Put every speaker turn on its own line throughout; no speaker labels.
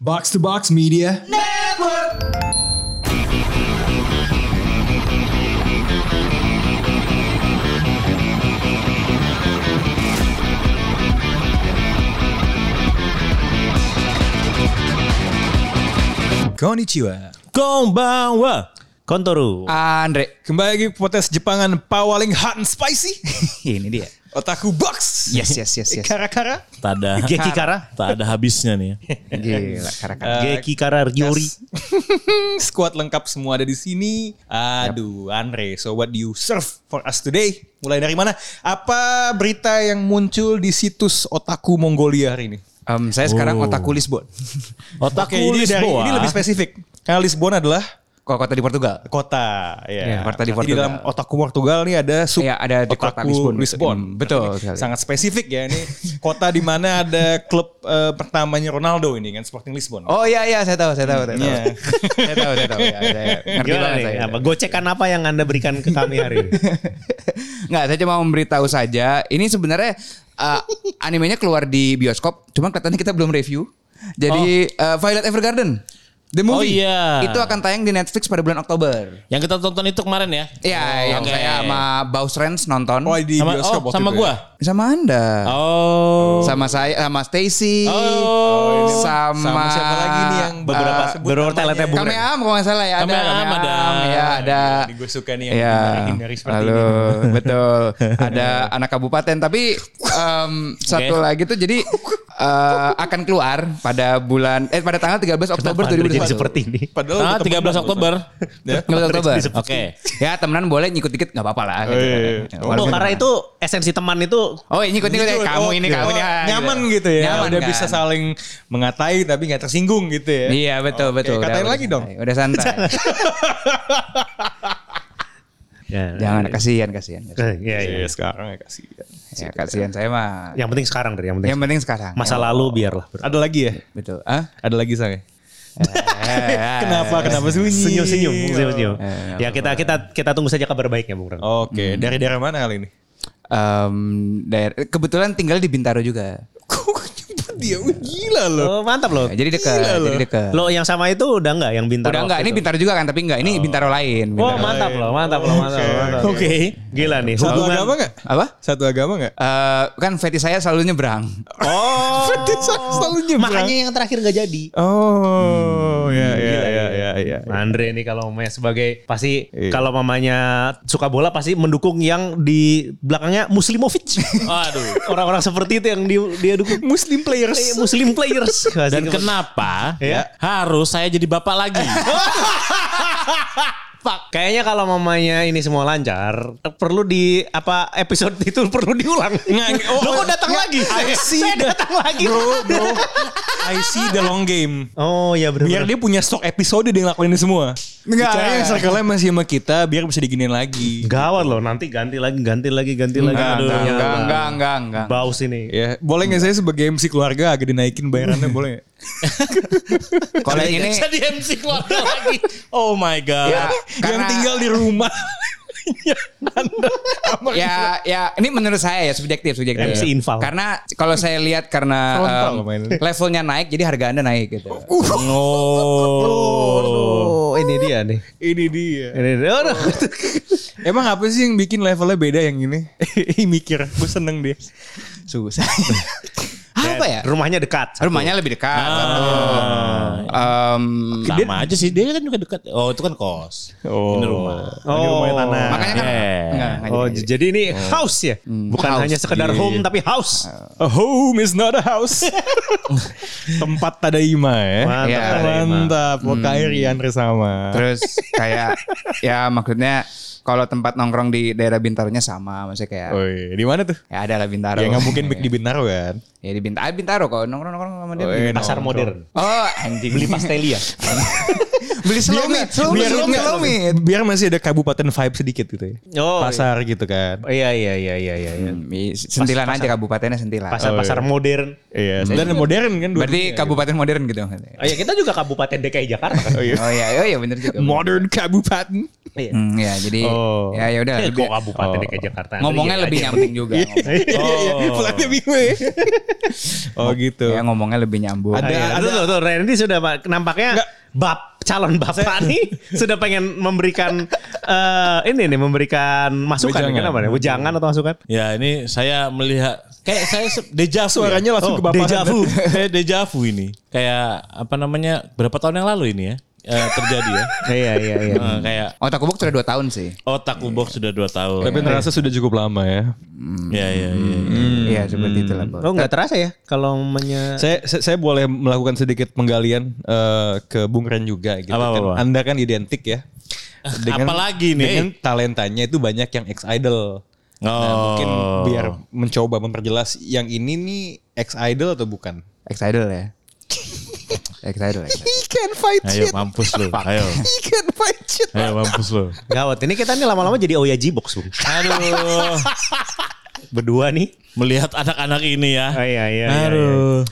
Box to Box Media. Konnichiwa.
Konbanwa Kontoru
Andre. Kembali lagi ke podcast Jepangan paling hot and spicy.
Ini dia.
Otaku Box.
Yes, yes, yes, yes.
Kara-kara.
Tak ada
Geki Kara.
Tak ada habisnya nih
Eh,
ya.
Gila, karakter.
Geki Kara Ryori
Squad lengkap semua ada di sini. Aduh, Andre. So what do you serve for us today? Mulai dari mana? Apa berita yang muncul di situs Otaku Mongolia hari ini?
Em, saya sekarang otaku Lisbon.
Otak
Oke, ini, dari, ini lebih spesifik. Karena Lisbon adalah
Kok kota di Portugal?
kota. Ya,
Ya, kota
Berarti
di Portugal.
dalam Otaku Portugal nih ada sub
Ya, ada di kota
Otaku
Lisbon.
Lisbon.
Hmm, betul
Berarti
sekali.
Sangat spesifik ya ini kota di mana ada klub eh, pertamanya Ronaldo ini kan Sporting Lisbon.
Oh iya iya, saya tahu, saya tahu, saya tahu.
Iya.
saya tahu, saya tahu. Ya, saya ngerti
Gimana
banget
nih?
saya.
Apa gocekan apa yang Anda berikan ke kami hari ini?
Enggak, saya cuma memberitahu saja. Ini sebenarnya eh, animenya keluar di bioskop, cuman kelihatannya kita belum review. Jadi eh, Violet Evergarden The
Oh,
movie
iya.
itu akan tayang di Netflix pada bulan Oktober.
yang kita tonton itu kemarin ya?
Iya,
Oh,
yang
oke.
saya sama Baus Rens nonton.
Oh, di
Sama,
bioskop
oh,
waktu
sama
itu
gua?
ya.
Sama Anda.
Oh.
Sama saya, sama Stacy.
iya.
Oh.
Sama,
Sama siapa lagi nih yang beberapa
Ah,
eh,
sebut
Beror
namanya?
teletebur.
Kami am kalau nggak salah ya ada.
Kami Am ada.
Ya ada.
Ini gue suka nih yang
Ya,
hindari-hindari seperti
halo,
ini.
betul. Ada anak kabupaten, tapi em, satu lagi tuh jadi eh, akan keluar pada bulan, eh pada tanggal 13 Oktober
Kenapa Anda jadi
2021.
seperti ini.
Padahal
Tanggal
udah temenan
13 Ah, Oktober.
Ya.
13 Oktober.
Oke.
Ya temenan boleh nyikut dikit nggak apa-apa lah. gitu.
iya, iya.
Oh,
Walaupun-
karena itu esensi teman itu
Oh ini ikut ikut kamu ini kamu ini ah,
nyaman gitu ya.
Nyaman
udah
kan?
bisa saling mengatai tapi nggak tersinggung gitu ya.
Iya betul
Oke,
betul. Udah-
Katain
udah
lagi dong.
santai, Udah santai.
ya,
Jangan kasihan kasihan. kasihan.
Eh, Iya, iya.
Iya, sekarang ya kasih.
Ya kasihan saya mah.
Yang penting sekarang deh, yang penting.
Yang penting
Iya,
sekarang.
Masa lalu biarlah. bro.
Ada lagi ya?
Betul. Ah?
Ada lagi saya.
Eh,
Kenapa? Kenapa sunyi?
Senyum-senyum,
Iya.
senyum-senyum.
Eh,
Ya kita kita kita tunggu saja kabar baiknya, Bung Ren.
Oke, dari daerah mana kali ini?
Em, daer- kebetulan tinggal di Bintaro juga.
Kok nyebut dia? Wih, Gila loh.
Oh, mantap loh.
Ya,
Iya,
jadi dekat,
Gila
jadi
loh.
dekat.
Lo yang sama itu udah enggak yang bintang.
Udah enggak, ini Bintaro juga kan, tapi enggak, ini Bintaro lain.
Oh,
Bintaro.
mantap loh, mantap loh, mantap.
Oke.
loh, mantap.
Oke.
Gila nih
Satu
hubungan.
agama nggak?
Apa?
Satu agama nggak?
Eh, kan fetish saya selalu nyebrang.
Oh, selalu nyebrang.
Makanya yang terakhir nggak jadi.
Oh, ya ya ya ya ya.
Andre nih kalau mamanya sebagai pasti
Iya.
kalau mamanya suka bola pasti mendukung yang di belakangnya Muslimovic. Aduh, orang-orang seperti itu yang dia, dia dukung.
Muslim players.
Eh, Muslim players.
Dan
Pasti-
kenapa
Ya.
harus saya jadi bapak lagi?
Pak, Kayaknya kalau mamanya ini semua lancar, perlu di apa episode itu perlu diulang.
Nggak, oh,
Lo kok datang
nggak,
lagi?
I see
Saya
the-
datang lagi.
Bro, bro. I see the long game.
Oh ya benar.
Biar dia punya stok episode dia ngelakuin ini semua.
Enggak,
Bicara
enggak.
yang circle masih sama kita biar bisa diginiin lagi.
Gawat loh, nanti ganti lagi, ganti lagi, ganti lagi.
Enggak,
Aduh,
enggak,
ya
enggak,
Allah.
enggak, enggak, enggak.
Baus ini.
Ya, boleh nggak saya sebagai MC keluarga agak dinaikin bayarannya boleh nggak?
Kalau yang ini
jadi MC keluarga lagi. Oh my god.
ya
Yang
karena-
tinggal di rumah.
ya ya ini menurut saya ya subjektif subjektif.
MC Infal.
Karena kalau saya lihat karena
Kalau Infal
em,
main.
levelnya naik jadi harga Anda naik gitu.
Uh,
Oh, ini dia nih.
Ini dia.
Ini dia. Aduh.
Emang apa sih yang bikin levelnya beda yang ini? Ih, Mikir, gue seneng dia.
Susah. Apa ya? Ah.
Rumahnya dekat.
Rumahnya lebih dekat. satu. Em,
Ah. Sama aja sih dia kan juga dekat. Oh itu kan kos.
Oh.
Ini rumah.
Oh, tanah.
makanya kan
Yeah.
Enggak, enggak
Oh,
jadi.
jadi ini house ya, bukan
House.
hanya sekedar
Iya,
home
iya.
tapi house.
A home is not a house. Tempat tadaima ya.
Mantap,
Iya.
Tadaima.
Mantap. Wakairi Andre sama.
Terus kayak ya maksudnya kalau tempat nongkrong di daerah Bintaronya sama maksudnya kayak
Oh iya, di mana tuh?
ya ada lah Bintaro.
Ya nggak mungkin Mik di Bintaro kan?
Ya di Bintaro, Bintaro kalau nongkrong-nongkrong sama dia.
Oh,
di
iya,
Bintaro.
Pasar
Nongkrong.
modern.
Oh, anjing beli
Pastelia.
beli selomit, selomit,
biar,
selomit,
biar,
selomit.
biar masih ada kabupaten vibe sedikit gitu ya.
Oh,
Pasar gitu kan.
Oh, Iya iya iya iya iya. iya.
Hmm, i- Sentilan aja kabupatennya sentilan.
Pasar-pasar modern.
Iya,
Hmm.
dan modern kan dua-
Berarti kabupaten modern gitu.
iya, Oh, ya kita juga Kabupaten DKI Jakarta kan.
Oh iya, oh iya bener juga.
modern kabupaten.
Iya.
Hmm, ya jadi
Oh.
ya ya udah
Eh,
lebih-
kok kabupaten
Oh.
DKI Jakarta.
ngomongnya
Iya,
lebih
iya.
nyambung juga. ngomong-
Iya, iya. Pulangnya bingung ya. Oh gitu.
Ya ngomongnya lebih nyambung.
Ada-
Ada,
ada-
tuh, tuh, tuh, Randy Nah, sudah Pak, nampaknya
Nggak.
bab calon bapak nih sudah pengen memberikan eh, ini nih memberikan masukan
Wejangan.
nih, kenapa nih? Wejangan atau masukan?
Ya ini saya melihat kayak saya se- deja vu
Suaranya
ya.
langsung
Oh,
kebapahan.
Deja vu. kayak deja vu ini. Kayak apa namanya berapa tahun yang lalu ini ya eh, terjadi ya.
Iya iya iya.
Eh, kayak
Oh Takubok sudah 2 tahun sih.
otak ubok sudah 2 tahun.
Tapi terasa sudah cukup lama ya.
Ya ya ya.
Hmm.
Iya seperti itulah. Bos.
Oh nggak terasa ya kalau menye
Saya, saya saya boleh melakukan sedikit penggalian eh, ke Bung Ren juga gitu
Apa, apa,
kan.
apa?
Anda kan identik ya.
apalagi nih?
Dengan talentanya itu banyak yang ex idol. Nah,
Oh.
mungkin biar mencoba memperjelas yang ini nih ex idol atau bukan?
Excited ya. Excited. excited.
He can fight
Ayo mampus lu. Ayo.
He can fight shit.
Ayo mampus lu.
gawat? Ini kita nih lama-lama jadi Oya Box Bung.
Aduh.
Berdua nih.
Melihat anak-anak ini ya.
Oh, iya iya.
Aduh.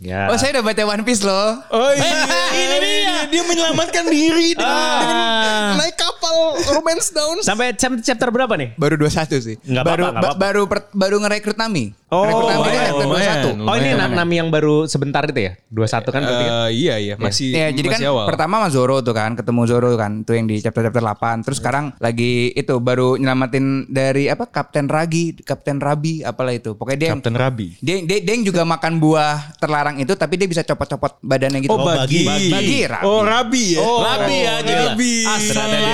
Ya.
Oh saya udah baca One Piece loh.
Oh
Ya,
iya, ini dia. Dia menyelamatkan diri dengan,
Ah.
dengan naik kapal romance down.
Sampai chap- chapter berapa nih?
Baru 21 sih.
Nggak
baru
apa-apa, nggak
ba-
apa-apa.
baru per- baru ngerekrut Nami.
Oh,
Rekrut Nami kan ini
lumayan,
chapter
iya, lumayan.
21.
Oh ini
Lumayan.
Nami yang baru sebentar itu ya? 21 kan berarti kan?
Eh, iya iya masih
Ya, jadi kan
masih awal.
pertama sama Zoro tuh kan, ketemu Zoro kan, tuh yang di chapter chapter 8. Terus sekarang lagi itu baru nyelamatin dari apa Kapten Ragi, Kapten Rabi, apalah itu. Pokoknya dia yang
Kapten Rabi.
dia, dia, dia yang juga makan buah terlarang itu tapi dia bisa copot-copot badannya gitu.
Oh, bagi.
bagi. Rabi.
Oh Rabi ya.
Oh, Rabi ya jadi.
Rabi.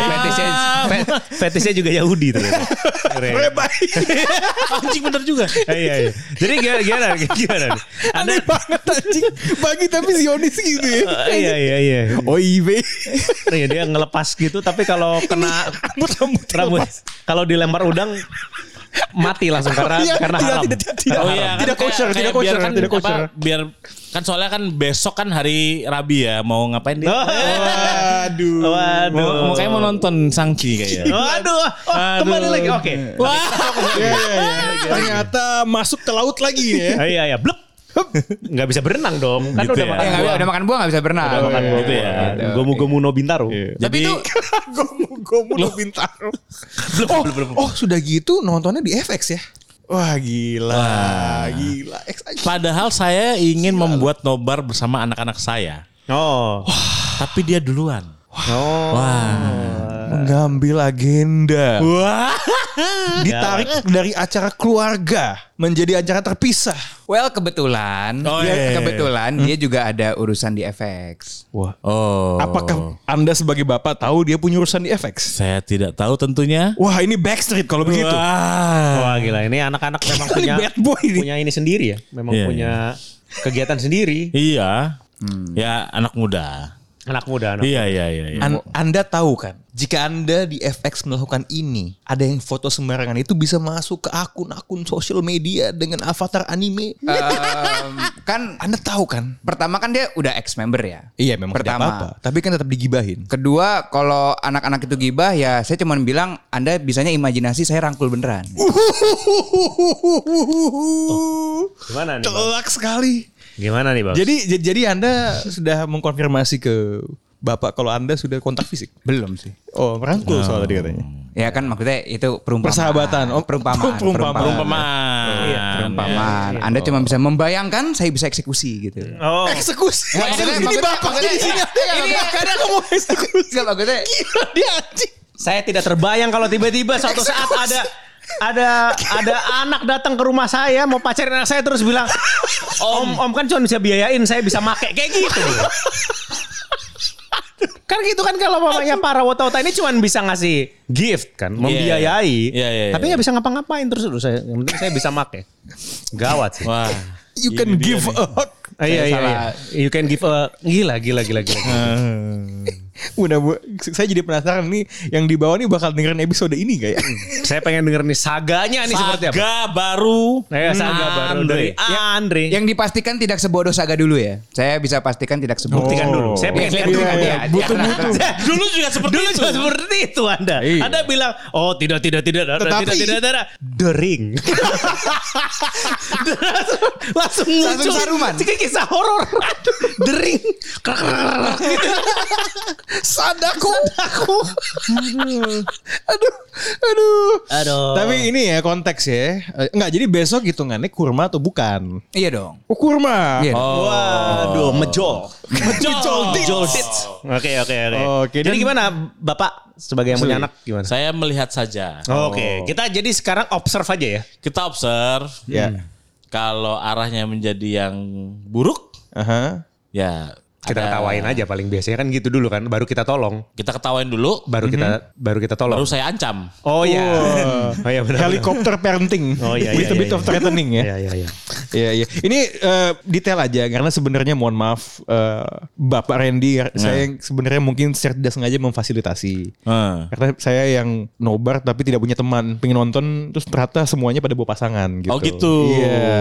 Fetishnya, fet-
Fetishnya juga Yahudi ternyata. Keren.
Anjing bener juga.
Eh, iya, iya. Jadi gimana gimana gimana? nih? Anda
Aneh banget anjing. Bagi tapi Zionis gitu ya.
Eh, iya iya iya.
Oh,
OIB.
Iya dia ngelepas gitu tapi kalau kena
Rambut-rambut
rambut kalau dilempar udang mati langsung karena
Iya,
karena
tidak,
haram.
tidak, tidak, tidak.
Karena
Oh, iya.
haram.
Tidak kosher, tidak kosher,
biar kan,
tidak
apa,
kosher.
biar kan soalnya kan besok kan hari Rabi ya, mau ngapain
Oh,
dia?
Waduh.
Oh, Waduh.
Mau, mau kayak mau nonton Sangchi kayaknya.
Waduh. Oh, kembali
Aduh.
lagi. Oke.
Wah.
Iya, iya, iya. Ternyata masuk ke laut lagi ya.
Ah, Iya iya, blep. Nggak bisa berenang dong. Kan
Gitu
udah
ya.
makan
eh, nggak
buah.
bisa- udah makan buah nggak bisa berenang.
Iya,
Udah makan buah
gitu ya.
Gitu. Gomu-gomu no bintaro.
Tapi
Jadi
itu
Gomu-gomu lo bintaro. oh, oh, sudah gitu nontonnya di FX ya? Wah gila, gila. X
padahal saya ingin membuat nobar bersama anak-anak saya,
Oh.
tapi dia duluan.
Oh.
Wah.
mengambil agenda.
Wah.
Ditarik dari acara keluarga menjadi acara terpisah.
well kebetulan,
Oh,
dia-
iya.
kebetulan
Hmm.
dia juga ada urusan di FX.
Wah.
Oh.
Apakah Anda sebagai bapak tahu dia punya urusan di FX?
saya tidak tahu tentunya?
Wah, ini backstreet kalau begitu.
Wah.
Wah gila ini anak-anak memang
Ini
punya
bad boy ini.
punya ini sendiri ya. Memang
Iya,
punya kegiatan sendiri.
Iya. Ya anak muda.
Anak muda anak.
Iya iya iya. iya.
An- anda tahu kan, jika Anda di FX melakukan ini, ada yang foto sembarangan itu bisa masuk ke akun-akun sosial media dengan avatar anime. Iya.
Em, kan
Anda tahu kan?
pertama kan dia udah ex member ya.
Iya memang tidak
Pertama.
apa-apa, tapi kan tetap digibahin.
Kedua, kalau anak-anak itu gibah ya saya cuman bilang Anda bisanya imajinasi saya rangkul beneran.
Uh.
Gimana nih? Bang?
Telak sekali.
Gimana nih bang?
Jadi j- jadi Anda sudah mengkonfirmasi ke Bapak kalau Anda sudah kontak fisik.
Belum sih.
Oh, merangkul soalnya dia katanya.
Ya kan maksudnya itu perumpamaan.
Persahabatan. Oh,
perumpamaan.
perumpamaan.
Perumpamaan.
Iya,
Perumpamaan. Anda cuma bisa membayangkan, saya bisa eksekusi gitu.
Oh.
Eksekusi.
maksudnya-
ini
maksudnya-
Bapak
maksudnya-
di sini.
ini-
Karena kamu eksekusi.
Enggak maksudnya
Gila dia anjing.
Saya tidak terbayang kalau tiba-tiba suatu saat ada ada ada anak datang ke rumah saya mau pacarin anak saya terus bilang om om kan cuma bisa biayain saya bisa make kayak gitu kan gitu kan kalau mamanya para wota-wota ini cuma bisa ngasih gift kan
Iya,
membiayai
iya, iya.
tapi nggak bisa ngapa-ngapain terus terus saya yang penting saya bisa make gawat sih
Wah.
You can
Ini
give
dia nih.
a hug.
Ah, iya, iya, iya. You can give a gila, gila, gila, gila.
Udah bu, saya jadi penasaran nih yang di bawah nih bakal dengerin episode ini gak ya?
Saya pengen denger nih saganya nih seperti apa.
Saga baru.
Eh, saga baru dari Andre.
yang dipastikan tidak sebodoh saga dulu ya. Saya bisa pastikan tidak sebodoh.
Buktikan dulu. Saya pengen
Iya,
lihat
iya,
dulu.
iya. Butuh- butuh.
Dulu juga seperti
Dulu
itu.
juga seperti itu Anda. Anda bilang, oh tidak, tidak, tidak, tidak,
Tetapi-
tidak, tidak, tidak. The ring. langsung muncul.
Langsung saruman.
Kayak kisah horor. The ring. Krek, krek, krek.
Sadaku. Sadaku. aduh. Aduh.
Aduh.
Tapi ini ya konteks ya. Eh, Enggak, jadi besok hitungannya kurma atau bukan?
Iya dong.
Oh, kurma.
Iya.
Waduh, mejol.
Mejol.
Mejol. Oh. Oke, oke, oke.
Oke,
Jadi
dan-
gimana Bapak sebagai yang punya anak gimana?
Saya melihat saja.
Oke, kita jadi sekarang observe aja ya.
Kita observe.
Ya.
Kalau arahnya menjadi yang buruk,
Aha.
ya
Kita
ada-
ketawain aja paling biasanya kan gitu dulu kan, baru kita tolong,
Kita ketawain dulu,
baru kita baru kita tolong.
baru saya ancam.
Oh iya. Oh iya benar.
Helikopter parenting.
Oh, iya,
With
iya,
a bit
iya,
of threatening ya.
Iya, iya, iya.
Iya iya. Ini eh, detail aja karena sebenarnya mohon maaf eh, Bapak Randy saya yang sebenarnya mungkin secara tidak sengaja memfasilitasi.
Heeh.
Hmm.
Karena saya yang nobar tapi tidak punya teman, pengen nonton terus ternyata semuanya pada bawa pasangan gitu.
Oh, gitu.
Iya.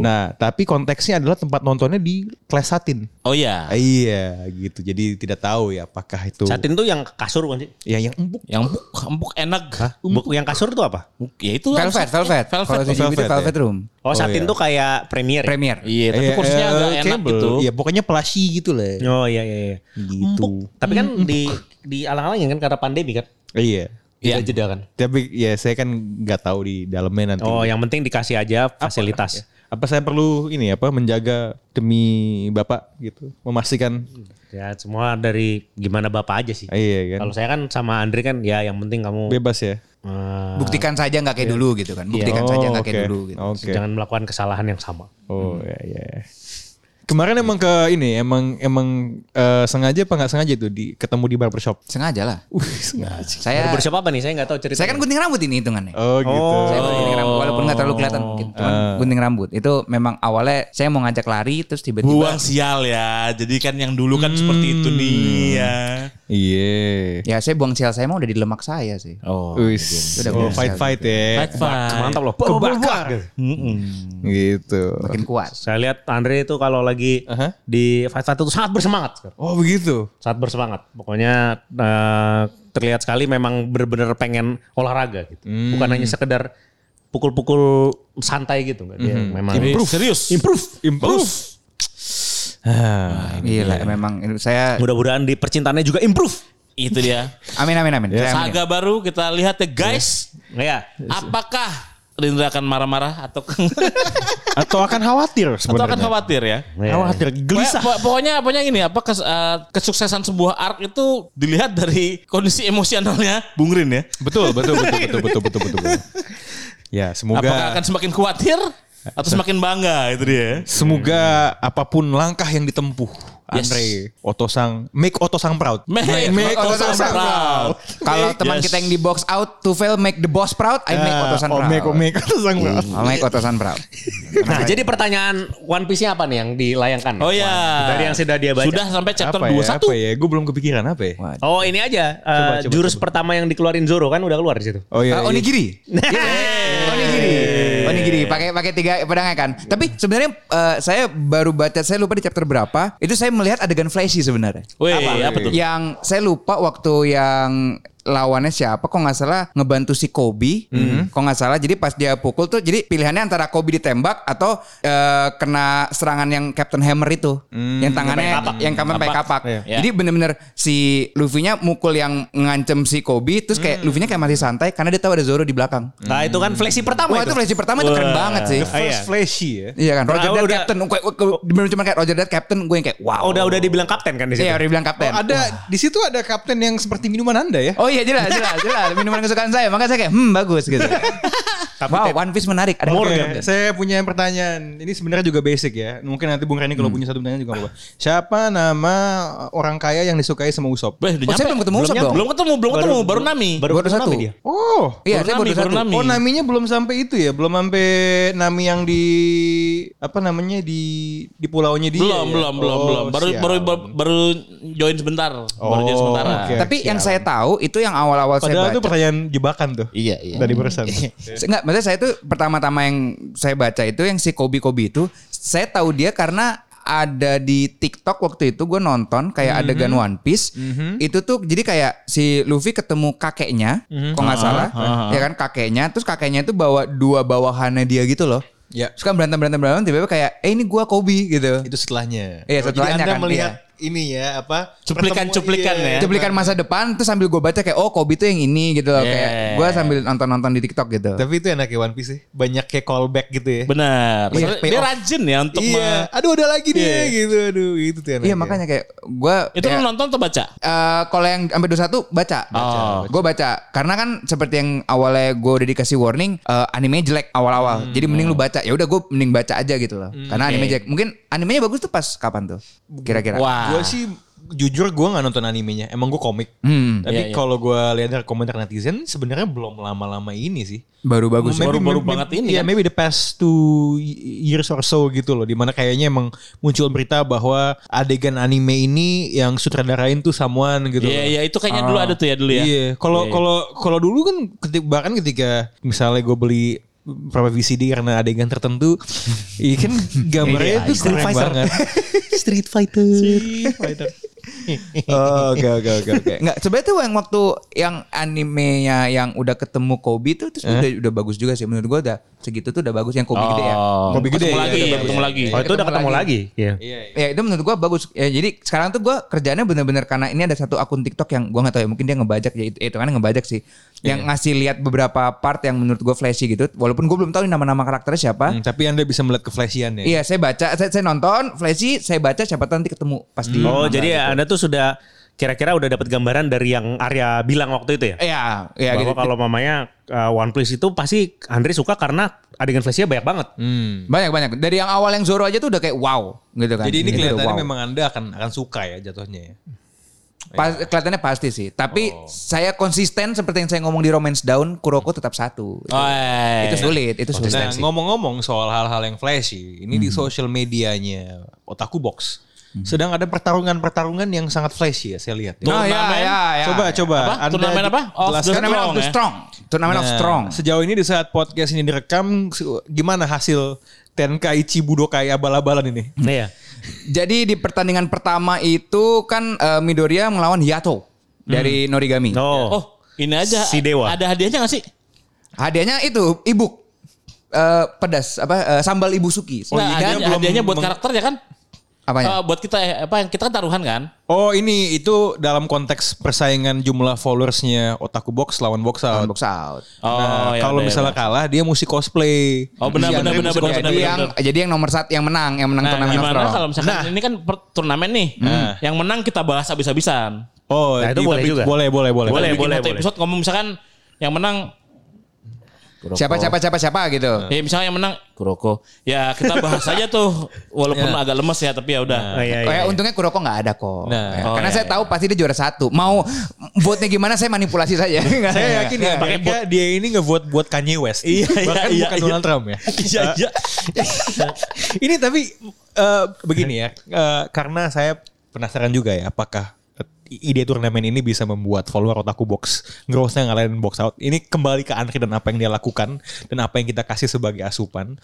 Nah, tapi konteksnya adalah tempat nontonnya di kelas Satin.
Oh iya,
Iya, gitu. Jadi tidak tahu ya apakah itu
Satin tuh yang kasur bukan sih?
ya yang empuk.
yang empuk, empuk enak.
Buk- yang kasur tuh apa?
Empuk, Ya itu
Velvet, velvet. Kalau
Velvet.
CCTV itu
Velvet,
velvet
ya.
room.
Oh, satin tuh kayak premier. ya?
Premier.
Iya, tapi
Eh,
kursinya
eh,
agak enak
cable.
gitu.
Iya, pokoknya plushy gitu lah.
Oh iya iya iya.
Gitu.
Empuk. Tapi kan di di alang-alangin kan karena pandemi kan.
Iya.
Iya
Iya.
jeda kan.
Tapi ya saya kan nggak tahu di dalamnya nanti.
Oh, yang penting dikasih aja fasilitas.
apa saya perlu ini apa menjaga demi bapak gitu memastikan
Ya semua dari gimana bapak aja sih.
Ah, iya kan
Kalau saya kan sama Andri kan ya yang penting kamu
bebas ya
eh,
Buktikan saja nggak kayak dulu gitu kan. Buktikan
Oh,
saja nggak
oke.
kayak dulu gitu.
Oke.
jangan melakukan kesalahan yang sama.
oh ya ya kemarin emang ke ini emang emang eh, sengaja apa nggak sengaja tuh di ketemu di barbershop
Sengaja lah.
uh sengaja
Saya
Barbershop apa nih? Saya nggak tahu cerita.
saya kan gunting rambut ini hitungannya.
oh gitu
Saya gunting rambut walaupun nggak terlalu kelihatan mungkin. Cuman gunting rambut itu memang awalnya saya mau ngajak lari terus tiba-tiba
Buang sial ya. Jadi kan yang dulu
Hmm.
kan seperti itu nih ya.
iya
ya saya buang sial saya mah udah di lemak saya sih.
Oh.
Wis.
Udah
oh,
biasa
fight fight ya
mantap loh. Kebakar.
gitu
Makin kuat.
Saya lihat Andre itu kalau lagi
Aha.
di fase satu tuh sangat bersemangat. Sir.
oh begitu
Sangat bersemangat. Pokoknya eh, terlihat sekali memang benar-benar pengen olahraga gitu. Bukan hanya sekedar pukul-pukul santai gitu enggak dia memang
Improve. Serius.
improve improve ah,
Gila memang ini- saya
mudah-mudahan di percintaannya juga improve.
Itu dia.
amin amin amin. Saya amin.
Saga baru kita lihat ya guys.
Ya.
Apakah Rindra akan marah-marah atau
atau akan khawatir
atau akan
sebenarnya
khawatir ya?
Iya.
khawatir gelisah
Pokoknya, pokoknya pokoknya gini, apa kes- eh, kesuksesan sebuah art itu dilihat dari kondisi emosionalnya Bung Rin ya.
Betul, betul, betul, betul, betul, betul, betul, betul. Ya, semoga
Apakah akan semakin khawatir atau semakin bangga itu dia.
semoga apapun langkah yang ditempuh Andre Otosang make Otosang proud.
Make, make
Otosan
Otosan Eh, proud.
Kalau teman
Yes.
kita yang di box out, to fail make the boss proud, I make Otosan
oh,
proud.
make, oh, make Otosang proud.
Oh, make Otosan proud.
Nah, jadi pertanyaan One Piece-nya apa nih yang dilayangkan?
Oh ya.
Dari yang sudah dia baca.
Sudah sampai chapter
apa ya,
21.
apa ya? Gue belum kepikiran apa ya?
Wah.
Oh, ini aja. eh,
coba,
jurus pertama yang dikeluarin Zoro kan udah keluar di situ.
Oh iya,
Ah,
iya.
onigiri. Yeah. Onigiri. Onigiri pakai pakai tiga pedangnya kan.
Iya.
Tapi sebenarnya eh, saya baru baca saya lupa di chapter berapa. Itu saya melihat adegan flashy sebenarnya.
Weh, apa, tuh?
Yang saya lupa waktu yang lawannya siapa kok nggak salah ngebantu si Kobe kok nggak salah jadi pas dia pukul tuh jadi pilihannya antara Kobe ditembak atau eh, kena serangan yang Captain Hammer itu yang tangannya yang kamen pakai kapak
Iya.
jadi bener-bener si Luffy-nya mukul yang ngancem si Kobe terus kayak Luffy-nya kayak masih santai karena dia tahu ada Zoro di belakang
Nah, itu kan fleksi pertama
Wah Oh, itu flash pertama itu keren banget sih.
The first
Ah, iya.
flashy ya.
Iya kan Roger
Nah,
Dead
udah-
Captain Gue- gue- gue- Bener cuma kayak Roger Dead Captain Gue yang kayak wow
Oh, udah udah dibilang kapten kan di situ.
Iya udah bilang Captain
Oh, ada di situ ada kapten yang seperti minuman Anda ya.
Oh iya jelas jelas jelas Minuman kesukaan saya Makanya saya kayak hmm bagus gitu Wow One Piece menarik Ada
Oke,
Oh, Morgan
kan? saya punya pertanyaan. Ini sebenarnya juga basic ya. Mungkin nanti Bung Reni kalau
Hmm.
punya satu pertanyaan juga apa-apa. Siapa nama orang kaya yang disukai sama Usop?
Weh, udah
Oh,
nyampe.
saya belum ketemu Usop
nyampe.
dong.
Belum ketemu, belum ketemu, baru Nami.
Baru satu
dia.
Oh,
Iya saya baru
Nami,
satu
Nami.
Oh naminya belum sampai itu ya, belum sampai nami yang di apa namanya di di pulaunya dia.
belum,
ya?
belum, belum,
Oh,
belum. Baru,
siap.
baru baru baru join sebentar. baru join
Oh,
sementara.
oke.
Tapi yang saya tahu Itu yang awal-awal saya
Padahal itu
baca
pertanyaan jebakan tuh.
Iya, iya.
Dari perusahaan.
Enggak, maksudnya saya tuh pertama-tama yang saya baca itu yang si Kobi Kobi itu, saya tahu dia karena ada di TikTok waktu itu gue nonton kayak adegan One Piece. Itu tuh jadi kayak si Luffy ketemu kakeknya, kok nggak salah, ya kan kakeknya, terus kakeknya itu bawa dua bawahannya dia gitu loh.
Ya.
Terus kan berantem berantem berantem tiba-tiba kayak eh ini gua Kobi gitu.
itu setelahnya.
Iya,
Oh,
setelahnya
Jadi Anda
kan,
melihat
iya.
ini ya apa
Cuplikan-cuplikan
pertemuan- iya.
ya.
Cuplikan masa depan terus sambil gue baca kayak oh Kobe tuh yang ini gitu loh kayak
Yeah.
gue sambil nonton-nonton di TikTok gitu.
Tapi itu enak ya One Piece sih. Banyak kayak callback gitu ya.
Benar.
Iya,
Soalnya
pay
dia
off.
rajin ya untuk
Iya. Aduh ada lagi nih
Iya.
gitu. Aduh itu tuh
Iya makanya kayak gue
me- Itu lu nonton atau baca?
Nah,
Eh, kalau yang sampai 21 baca.
Baca, baca.
Gue baca. Karena kan seperti yang awalnya gue udah dikasih warning, eh, animenya jelek
Hmm.
awal-awal. Jadi mending lu baca. Ya udah gue mending baca aja gitu loh. Karena anime jelek. Mungkin animenya bagus tuh pas kapan tuh? Kira-kira.
Wah.
Gue sih jujur gue nggak nonton animenya. Emang gue komik.
Hmm,
Tapi
Iya, iya.
kalau gue lihat dari komentar netizen sebenarnya belum lama-lama ini sih.
baru bagus.
Maybe-
Baru-baru
maybe-
banget ini
Iya,
kan.
maybe the past two years or so gitu loh. Dimana kayaknya emang muncul berita bahwa adegan anime ini yang sutradarain tuh someone gitu.
Iya,
loh.
iya itu kayaknya dulu ada tuh ya dulu ya.
Iya, kalau
Iya, iya.
kalau kalau dulu kan ketika, bahkan ketika misalnya gue beli berapa VCD karena adegan tertentu, iya kan gambarnya
iya.
itu keren banget.
Street Fighter.
Oh, Oke oke oke oke. Enggak, gitu. sebenarnya tuh yang waktu yang animenya yang udah ketemu Kobe tuh terus udah udah bagus juga sih menurut gue udah segitu tuh udah bagus yang Kobe gede ya.
Kobe gede,
Ketemu
iya,
lagi,
iya,
ya,
iya,
ketemu
iya. Hmm.
lagi.
Oh itu udah ketemu lagi. Iya.
Ya itu menurut gua bagus. Ya jadi sekarang tuh gua kerjanya bener-bener karena ini ada satu akun TikTok yang gua nggak tahu ya mungkin dia ngebajak ya itu, itu kan ngebajak sih. Yang ngasih lihat beberapa part yang menurut gua flashy gitu. Walaupun gua belum tahu ini nama-nama karakternya siapa.
Hmm, tapi anda bisa melihat ya? keflashiannya.
Iya saya baca, saya, saya nonton flashy, saya baca siapa tahu nanti ketemu pas di.
Oh jadi Anda tuh sudah kira-kira udah dapat gambaran dari yang Arya bilang waktu itu ya?
Iya, iya
Bahwa
gitu.
kalau mamanya uh, One Piece itu pasti Andre suka karena adegan flashnya banyak banget.
Hmm.
Banyak banyak. Dari yang awal yang Zoro aja tuh udah kayak wow gitu kan.
Jadi ini
Gitu,
kelihatannya
wow.
memang anda akan akan suka ya jatuhnya. ya.
Pas- kelihatannya pasti sih. Tapi
Oh.
saya konsisten seperti yang saya ngomong di Romance Down, Kuroko tetap
Oh,
satu. Itu,
eh.
Woi.
itu sulit, itu sulit.
Nah ngomong-ngomong soal hal-hal yang flashy, ini di social medianya Otaku Box sedang ada pertarungan-pertarungan yang sangat flashy ya saya lihat. ya.
Nah,
Oh,
Turnamen.
coba coba.
Apa? Turnamen apa? Of the
jelaskan.
Turnamen of the
ya?
strong. Turnamen of
kan Nah,
strong.
Sejauh ini di saat podcast ini direkam, se- gimana hasil Tenkaichi Budokai abal-abalan ini?
Iya.
Jadi di pertandingan pertama itu kan eh, Midoriya melawan Hiyato dari
Hmm.
Norigami.
Oh.
Oh, ini aja.
Si Dewa.
Ada hadiahnya gak sih?
Hadiahnya itu ibuk Eh, pedas apa eh, sambal ibusuki.
Oh,
Nah, hadiahnya,
iya, belum
hadiahnya buat
meng-
karakternya kan? Eh,
Apanya?
buat kita eh, apa yang kita kan taruhan kan?
Oh ini itu dalam konteks persaingan jumlah followersnya Otaku Box lawan Box Out.
Box out.
Oh,
Nah,
ya
kalau
udah, ya
misalnya
udah.
kalah dia mesti cosplay.
Oh, benar,
Iya,
benar,
dia
benar,
mesti
benar,
cosplay.
benar.
Jadi yang jadi yang nomor satu yang menang, yang menang
Nah,
turnamen of
gimana
strong.
kalau misalkan ini kan per- turnamen nih.
Nah.
Yang menang kita bahas habis-habisan.
Oh,
Nah, itu
di-
boleh
tapi-
juga.
Boleh, boleh, boleh.
Boleh.
Bikin satu episode ngomong misalkan yang menang
Siapa siapa siapa siapa gitu.
ya misalnya yang menang Kuroko. Ya kita bahas aja tuh walaupun agak lemes ya tapi ya udah.
Oh, iya,
Oh
iya,
ya,
iya.
untungnya Kuroko nggak ada kok.
Nah.
Ya,
Oh,
Karena
iya,
saya tahu pasti dia juara satu. Mau vote-nya gimana saya manipulasi saja. Iya.
Saya yakin ya, mereka dia ini ngebuat buat Kanye West.
Iya, iya,
Bahkan
iya,
bukan
iya.
Donald Trump ya.
Iya, iya.
ini tapi eh, begini ya, eh, karena saya penasaran juga ya, apakah eh, ide turnamen ini bisa membuat follower otaku box growth-nya ngalahin box out. Ini kembali ke Andri dan apa yang dia lakukan dan apa yang kita kasih sebagai asupan.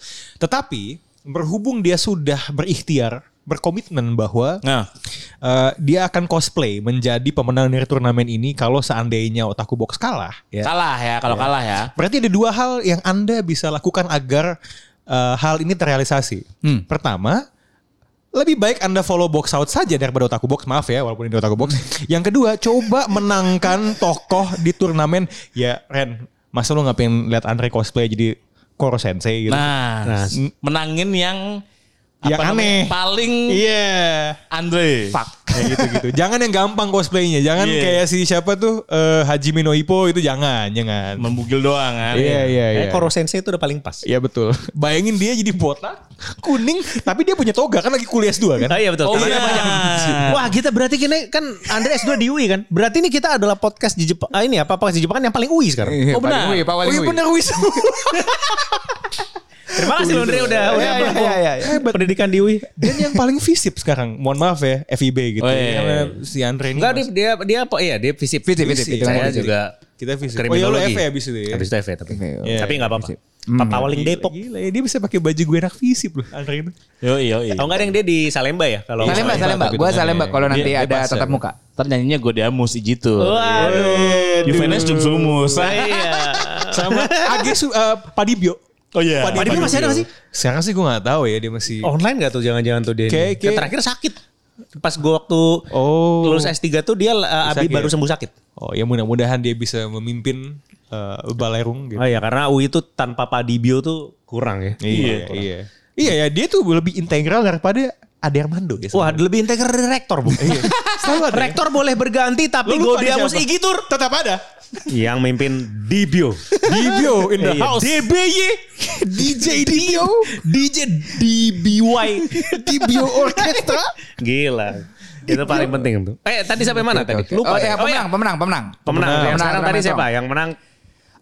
Tetapi berhubung dia sudah berikhtiar, berkomitmen bahwa
Nah,
eh, dia akan cosplay menjadi pemenang dari turnamen ini kalau seandainya otaku box kalah. Ya.
kalah ya kalau kalah ya.
Berarti ada dua hal yang Anda bisa lakukan agar eh, hal ini terrealisasi. Pertama, lebih baik Anda follow box out saja daripada otaku box. Maaf ya, walaupun ini otaku box. Yang kedua, coba menangkan tokoh di turnamen. Ya, Ren, masa lu nggak pengen lihat Andre cosplay jadi Koro Sensei gitu?
Nah,
Nah,
s- menangin yang
Yang aneh.
namanya, paling
Iya.
Andre.
Kayak gitu-gitu. Jangan yang gampang cosplaynya. Jangan
Iya.
kayak si siapa tuh eh, Hajime no Ippo itu jangan, jangan.
Membugil doang kan.
Iya, iya, iya.
Kayaknya Koro Sensei itu udah paling pas.
Iya betul. Bayangin dia jadi botak, kuning, tapi dia punya toga kan lagi kuliah S2 kan?
Oh iya betul.
Oh,
Tangannya
iya.
Wah kita berarti kini kan Andre S2 di UI kan. Berarti ini kita adalah podcast di Jepang. Ah, ini apa podcast di Jepang kan yang paling UI sekarang.
Oh, benar.
Pak Wali, Pak Wali.
Oh iya bener wis.
Terima kasih loh Andre udah udah
Iya, iya,
menempuh
iya, iya.
pendidikan di UI.
Dan yang paling visip sekarang, mohon maaf ya, FIB gitu.
Oh, iya,
Karena
iya.
si Andre ini.
Enggak
masih-
dia dia dia apa iya dia fisip
Fisip, fisip, fisip.
Saya
Fisip.
juga
Kita visip. Oh iya lu
kriminologi.
FE abis itu ya.
Habis itu FE tapi.
Oke, oke.
Iya,
Tapi enggak apa-apa.
Fisip.
Papa Waling
Gila,
Depok.
Gila ya, dia bisa pakai baju gue enak visip loh Andre itu.
Yo, yo, yo.
Oh enggak ada yang dia di Salemba ya kalau
Salemba, Salemba.
tapi
Gua
dengan-
Salemba kalau nanti
Dia- dia
ada
pas,
tatap
ya.
muka. Oh.
Ntar nyanyinya gue diamus gitu.
Waduh.
Juventus jum sumus.
Iya.
Sama Age Su- eh, Padibio.
Oh iya.
Padibio masih ada nggak sih?
Sekarang sih gue gak tahu ya dia masih.
Online gak tuh jangan-jangan tuh dia
Kayak-
ini.
kayak-
Terakhir sakit. Pas gue waktu
Oh.
lulus S3 tuh dia eh, Abi
Sakit.
baru sembuh sakit.
Oh ya mudah-mudahan dia bisa memimpin eh, Balerung gitu.
Oh iya karena UI itu tanpa Padibio tuh kurang ya.
Iya, iya. Iya ya, dia tuh lebih integral daripada Ade Armando ya.
Wah lebih integral dari rektor bu.
selalu ada.
rektor boleh berganti tapi
Lu lupa
Gaudia
dia
Mus
siapa?
Igi tuh
tetap ada.
iya. yang mimpin Dibio.
Dibio in the
Iya.
house. DBY, DJ Dibio, DJ DBY, Dibio Orchestra.
Gila. Itu paling penting tuh. Eh tadi sampai mana tadi?
Oke, oke.
Lupa.
Oh,
tadi.
iya,
Oh, iya.
pemenang, pemenang, pemenang.
Pemenang. Yang sekarang tadi
pemenang
siapa?
song.
Yang menang.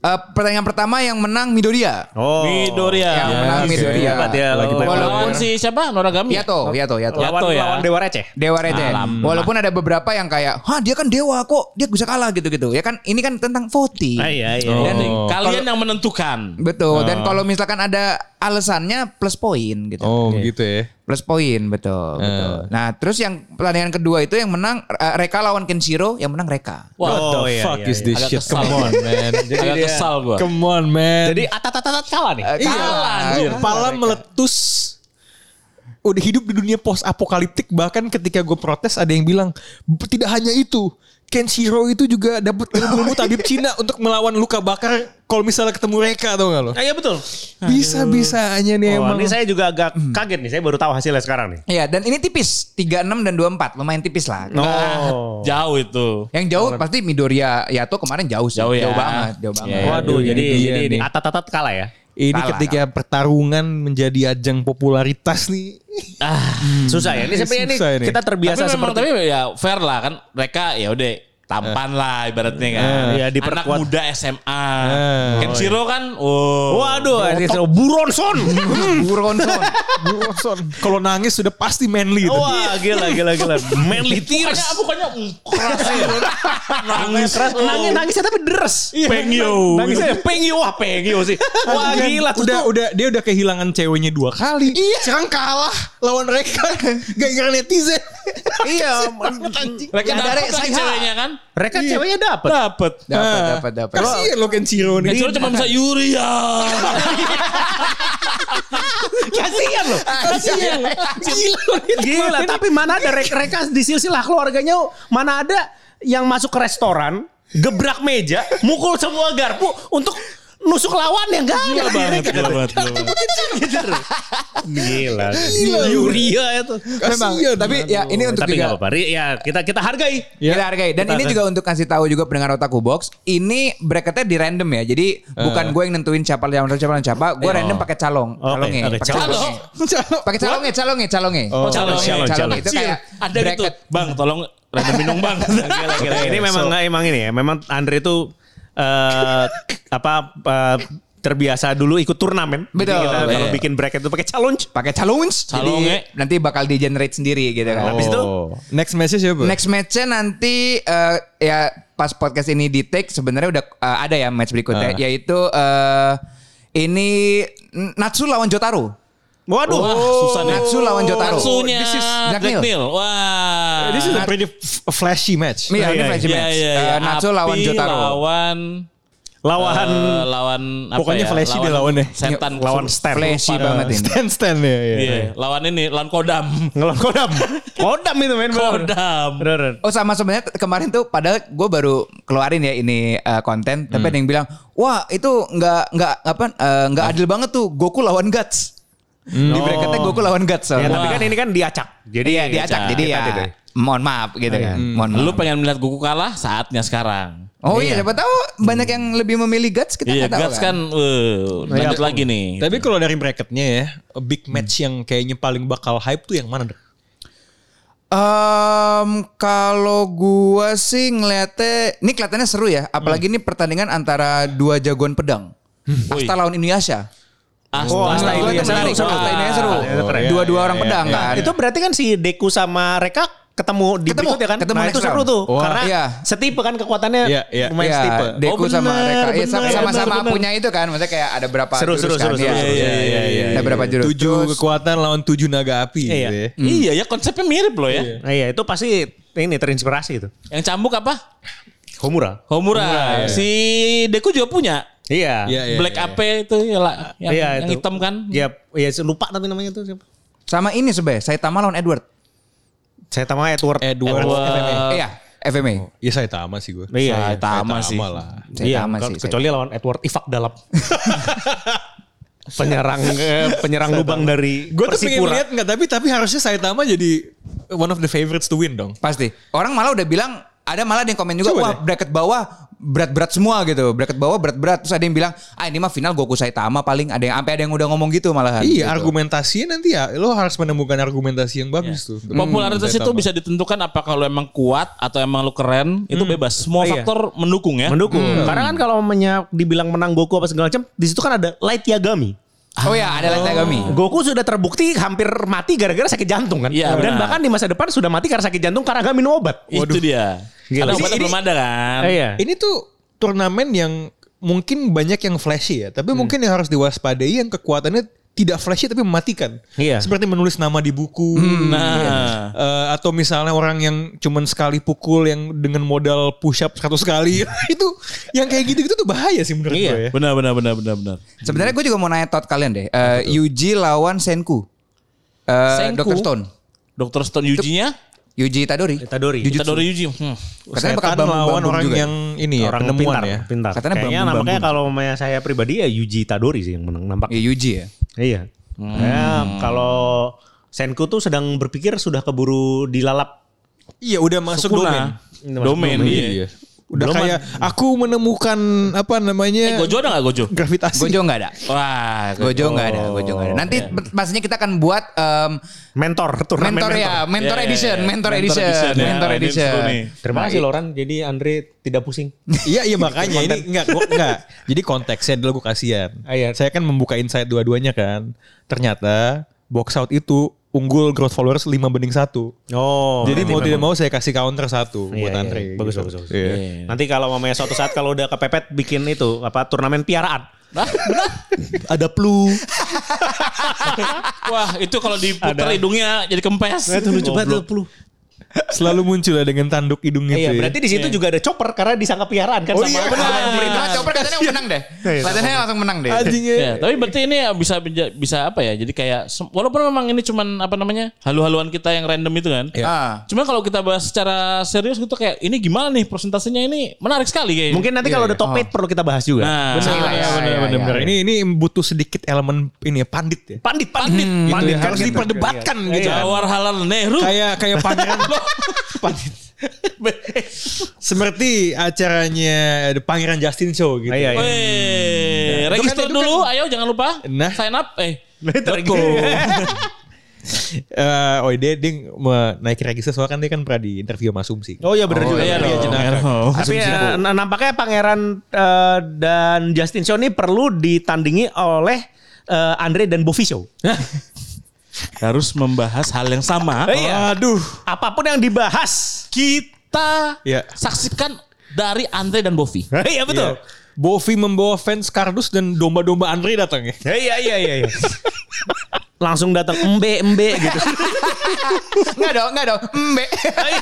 Eh, pertanyaan pertama yang menang Midoriya.
Oh.
Midoriya.
yang
Ya,
menang
oke.
Midoriya.
Hebat ya, Iya
Lagi
lo.
baik-baik.
Lawan si siapa? Noragami.
Yato, Yato, Yato.
Ya.
Lawan,
Yato
lawan Dewa Receh.
iya Dewa receh. Walaupun ada beberapa yang kayak, "Hah, dia kan dewa kok, dia bisa kalah gitu-gitu." Ya kan ini kan tentang voting.
Ah, iya, Oh. iya.
Dan
Oh.
kalian yang menentukan.
Betul. Dan kalau misalkan ada alasannya plus poin gitu.
Oh gitu ya.
Plus poin, betul,
Eh.
betul. Nah, terus yang pertandingan kedua itu yang menang eh, Reka lawan Kenshiro, yang menang Reka.
Wah,
What
Oh,
the
iya,
fuck
iya,
is this
Agak
shit?
kesal.
Come on man. Jadi
Agak
dia-
kesal gua.
Come on man.
Jadi atat-atat kalah nih.
Eh,
Iya,
kalah.
lu
Kalah
kepala
mereka.
meletus. Udah hidup di dunia post apokaliptik bahkan ketika gue protes ada yang bilang "B- tidak hanya itu. Kenshiro itu juga dapat ilmu-ilmu tabib Cina untuk melawan luka bakar kalau misalnya ketemu mereka tau gak lo?
Ah, iya betul.
Bisa-bisanya nih
Oh,
emang.
ini saya juga agak kaget nih. Saya baru tahu hasilnya sekarang nih.
Iya, dan ini tipis, 36 dan 24, lumayan tipis lah.
Oh.
Jauh itu.
Yang jauh pasti Midoriya Yato kemarin jauh sih.
Jauh ya.
banget, jauh banget.
Iya.
Waduh,
Ini
jadi
dia
jadi ini
nih.
atat-atat kalah ya.
Ini
Kalah,
ketika pertarungan menjadi ajang popularitas nih.
Susah ya. Ini sepertinya ini
susah ini.
kita
tapi
terbiasa
memang
seperti
tapi ya fair lah kan mereka ya udah tampan lah ibaratnya kan.
Eh, iya,
Anak
diperkuat. Eh, iya.
muda SMA. Kenshiro kan oh.
Waduh, Arisio Buronson.
Buronson.
Buroson. Kalau nangis sudah pasti manly itu.
Oh,
Wah, gila gila gila. Manly tears.
Bukannya bukannya mm, keras ya. Nangis. oh.
Nangis nangisnya tapi deres.
Pengyo.
Nangisnya pengyo wah pengyo sih. Wah
Kan
gila
udah udah dia udah kehilangan ceweknya dua kali. Iya. Sekarang kalah lawan mereka gara-gara netizen.
iya.
Mereka
Yang
dapat
dari
kan
Saiha.
ceweknya kan.
Mereka ceweknya dapat.
Dapat.
Dapat,
Ah,
dapat, dapat.
Kasihan lo Kenshiro nih.
Kenshiro cuma bisa Yuria.
Kasihan loh.
Kasihan lo.
Gila, tapi mana ada rek reka di silsilah keluarganya mana ada yang masuk ke restoran, gebrak meja, mukul semua garpu untuk nusuk lawan yang gak ada. Iya, kan?
banget, gila banget. gila banget.
Gila.
Gila.
Gitu.
Iya.
Yuria itu.
Memang,
Kasihan,
tapi ya ini untuk
Tapi
juga
nggak apa-apa. Ri- Ya kita kita hargai.
Kita hargai. Dan ini juga untuk kasih tahu juga pendengar Otaku Box, ini bracketnya di random ya. Jadi bukan gue yang nentuin siapa yang siapa siapa, siapa. Gue random pakai calong,
Oke,
calongnya,
oke,
pakai
calong.
calongnya. Pakai calongnya, calongnya, calongnya.
Oh,
calon,
calongnya,
calon,
calongnya.
calon.
Itu kayak
ada gitu.
bracket.
Bang, tolong random minum bang.
Gila, gila. Ini memang emang ini ya. Memang Andre itu eh apa eh, terbiasa dulu ikut turnamen. Jadi
Betul.
kita Kalau
Iya.
bikin bracket itu pakai challenge.
Pakai calonge.
Calongnya.
Jadi nanti bakal di generate sendiri gitu
Oh,
kan.
Habis itu
next message apa?
Next matchnya nanti eh, ya pas podcast ini di take sebenarnya udah eh, ada ya match berikutnya yaitu eh, ini Natsu lawan Jotaro.
Waduh.
Wah, susah nih.
Natsu lawan Jotaro.
Natsunya
This is Jack
Jack
Neal.
Neal. Wah.
This is a pretty f- flashy match.
Iya, ini
Iya,
flash
Iya,
match.
iya,
Eh,
iya.
Natsu lawan
Api
Jotaro.
Lawan
Lawan
eh, lawan apa
Pokoknya
ya?
flashy dia lawannya.
Setan
lawan
Iya,
Stan.
Flashy
Lupa.
banget ini.
Stand stand ya. ya.
lawan ini, lawan Kodam.
Ngelawan kodam. kodam itu main
Kodam.
Bener.
Oh sama sebenarnya t- kemarin tuh padahal gue baru keluarin ya ini eh, konten tapi ada yang bilang wah itu nggak nggak apa eh, nggak adil banget tuh Goku lawan Guts di bracketnya Goku lawan Guts
Ya,
soalnya.
tapi
Wah.
kan ini kan diacak. Jadi
Iya diacak jadi ya mohon maaf gitu kan mohon maaf.
Lu pengen melihat Goku kalah saatnya sekarang.
Oh iya, siapa tahu banyak yang lebih memilih Guts kita
Iya,
nggak tahu
Guts kan, eh, lanjut lagi nih.
Tapi kalau dari bracketnya ya, a big match yang kayaknya paling bakal hype tuh yang mana? Dok?
Em, kalau gua sih ngeliatnya, ini kelihatannya seru ya. Apalagi ini pertandingan antara dua jagoan pedang. Asta lawan Inuyasha.
Asta,
Oh, Asta
Itu
ini
Inuyasha.
ya,
menarik.
seru,
Seru,
seru.
Asta Inuyasha seru.
Asta Inuyasha keren.
Dua-dua
Iya,
orang
iya,
pedang
iya.
kan.
Itu berarti kan si Deku sama Reka ketemu di
Ketemu,
berikutnya kan?
ketemu
nah
next
itu seru
round.
tuh.
Wah.
Karena
Iya.
setipe kan kekuatannya
Iya, iya.
lumayan
Iya,
setipe.
Deku
Oh,
sama
benar,
mereka. Iya,
benar,
sama-sama
benar.
punya itu kan. Maksudnya kayak ada berapa
Seru,
jurus
seru,
kan.
seru,
Iya, iya,
seru,
Iya,
iya,
iya, iya.
Ada berapa jurus.
Tujuh
Terus,
kekuatan lawan tujuh naga api.
Iya.
gitu ya.
Iya ya konsepnya mirip loh ya.
Nah, iya itu pasti ini terinspirasi itu.
Yang cambuk apa?
Homura.
Homura.
iya.
Si Deku juga punya.
Iya.
Iya, iya,
Black
iya.
Ape itu ya lah, yang,
Iya,
yang
itu.
hitam kan.
Iya, iya lupa tapi namanya tuh siapa?
sama ini sebenarnya, Saitama lawan Edward.
Saya tahu Edward.
Edward.
Wah.
Iya, FMA.
Iya saya tama sih gue.
Iya, iya.
Saitama sih.
lah.
Saya
Iya,
sama
ke-
sih, saya
kecuali lawan Edward Ifak Dalap. penyerang eh, penyerang lubang dari
Gue tuh pengen
Persipura.
lihat nggak tapi tapi harusnya Saitama jadi one of the favorites to win dong.
Pasti. Orang malah udah bilang ada malah ada yang komen juga
Coba
wah
deh.
bracket bawah berat-berat semua gitu. Bracket bawah berat-berat terus ada yang bilang ah ini mah final Goku Saitama paling ada yang sampai ada yang udah ngomong gitu malahan.
Iya
Gitu.
argumentasinya nanti ya lo harus menemukan argumentasi yang bagus
Hmm,
tuh.
Popularitas itu bisa ditentukan apakah lu emang kuat atau emang lu keren, itu bebas. Semua
Iya.
faktor mendukung ya.
Mendukung. Karena kan kalau menya- dibilang menang Goku apa segala macam, di situ kan ada Light Yagami.
Oh ya, ada Light Yagami.
Goku sudah terbukti hampir mati gara-gara sakit jantung kan.
Iya,
Dan
benar. Iya.
bahkan di masa depan sudah mati karena sakit jantung karena gak minum obat.
Itu dia.
Gila.
Karena
Ini-
obatnya
ini-
belum ada kan.
Eh, iya.
Ini tuh turnamen yang mungkin banyak yang flashy ya, tapi mungkin yang harus diwaspadai yang kekuatannya tidak flashy tapi mematikan.
Iya.
Seperti menulis nama di buku.
Nah.
Eh, atau misalnya orang yang cuman sekali pukul yang dengan modal push up 100 kali itu yang kayak gitu-gitu tuh bahaya sih menurut
Iya.
gue ya.
Benar benar benar benar benar.
Sebenarnya gue juga mau nanya tot kalian deh. Eh, Yuji lawan Senku. Eh
Senku?
Dr. Stone.
Dokter Stone Yuji-nya
Yuji Itadori.
Itadori.
Jujutsu.
Itadori Yuji. Hmm.
Katanya bakal
Setan
bambang-
lawan
bambung
orang
juga.
yang ini ya,
orang
penemuan
pintar,
ya.
pintar.
Katanya
Kayaknya
bambu-bambu.
nampaknya kalau maya- saya pribadi ya Yuji Itadori sih yang menang nampaknya.
Ya Yuji ya.
Iya. Ya, kalau Senku tuh sedang berpikir sudah keburu dilalap.
Iya, udah masuk domain.
Sukuna. Domain. Iya.
Udah
Belum
kayak aku menemukan apa
Eh,
namanya
Gojo ada nggak Gojo?
gravitasi.
Gojo nggak ada.
Wah, Iya.
Gojo nggak ada, Gojo nggak ada. Nanti pastinya kita akan buat em,
Mentor, turnamen
mentor ya, mentor
Iya, iya,
edition,
iya.
mentor
Mentor
edition,
edition ya.
mentor
Ini
edition.
seru nih.
Nah,
Terima kasih Loran, jadi Andre tidak pusing.
Iya
Gitu,
iya makanya ini enggak gua enggak. Jadi konteksnya dulu gue kasihan.
Ah, iya.
Saya kan membuka insight dua-duanya kan. Ternyata box out itu unggul growth followers 5 banding 1.
Oh,
Jadi
nanti
mau tidak mau
memang.
saya kasih counter satu
Iya,
buat
iya.
Andre.
Bagus,
gitu.
bagus, bagus.
Iya.
Nanti kalau mamanya suatu saat kalau udah kepepet bikin itu apa turnamen piaraan. Ada flu.
Wah, itu kalau diputer hidungnya jadi kempes.
Itu lucu banget
Goblok.
flu.
Selalu muncul ya dengan tanduk hidung itu.
Iya,
ya.
berarti di situ juga ada chopper karena disangka piaraan kan
Oh,
sama
iya,
sama
benar.
Andre.
Nah, Chopper katanya menang deh. Katanya langsung menang deh.
anjing ya.
Ya, tapi berarti ini bisa bisa apa ya? Jadi kayak sem- walaupun memang ini cuman apa namanya? halu-haluan kita yang random itu kan.
Ah.
Cuman kalau kita bahas secara serius gitu kayak ini gimana nih persentasenya ini menarik sekali kayaknya.
Mungkin nanti kalau udah top 8 perlu kita bahas juga.
Nah,
Iya, iya,
Benar,
iya,
benar,
iya.
benar. Ini ini butuh sedikit elemen ini ya pandit ya.
Pandit,
Pandit
pandit, Hmm. pandit kan Iya.
harus diperdebatkan gitu.
gitu Iya. Jawar Halal Nehru.
Kayak kayak pangeran pandit. Seperti acaranya The Pangeran Justin Show gitu.
Iya, iya.
Weh,
Itu kan- itu
register dulu, ayo jangan lupa.
Nah.
Sign up, eh.
Betul.
Eh, oh dia, dia me- naik register soalnya kan dia kan pernah di interview sama Asumsi.
Oh iya benar
Oh,
juga.
iya
Iya,
dong.
jenaka.
Oh.
Tapi eh, nah, nampaknya Pangeran eh, dan Justin Show ini perlu ditandingi oleh eh, Andre dan Bovi Show.
Harus membahas hal yang sama.
Eh, iya.
Aduh.
Apapun yang dibahas
Kita
Iya.
saksikan dari Andre dan Bovi.
Iya
Iya.
betul.
Bovi membawa fans Kardus dan domba-domba Andre datang ya.
Iya iya iya iya. Langsung datang embe embe gitu.
Enggak dong, enggak dong. Mbe.
Iya.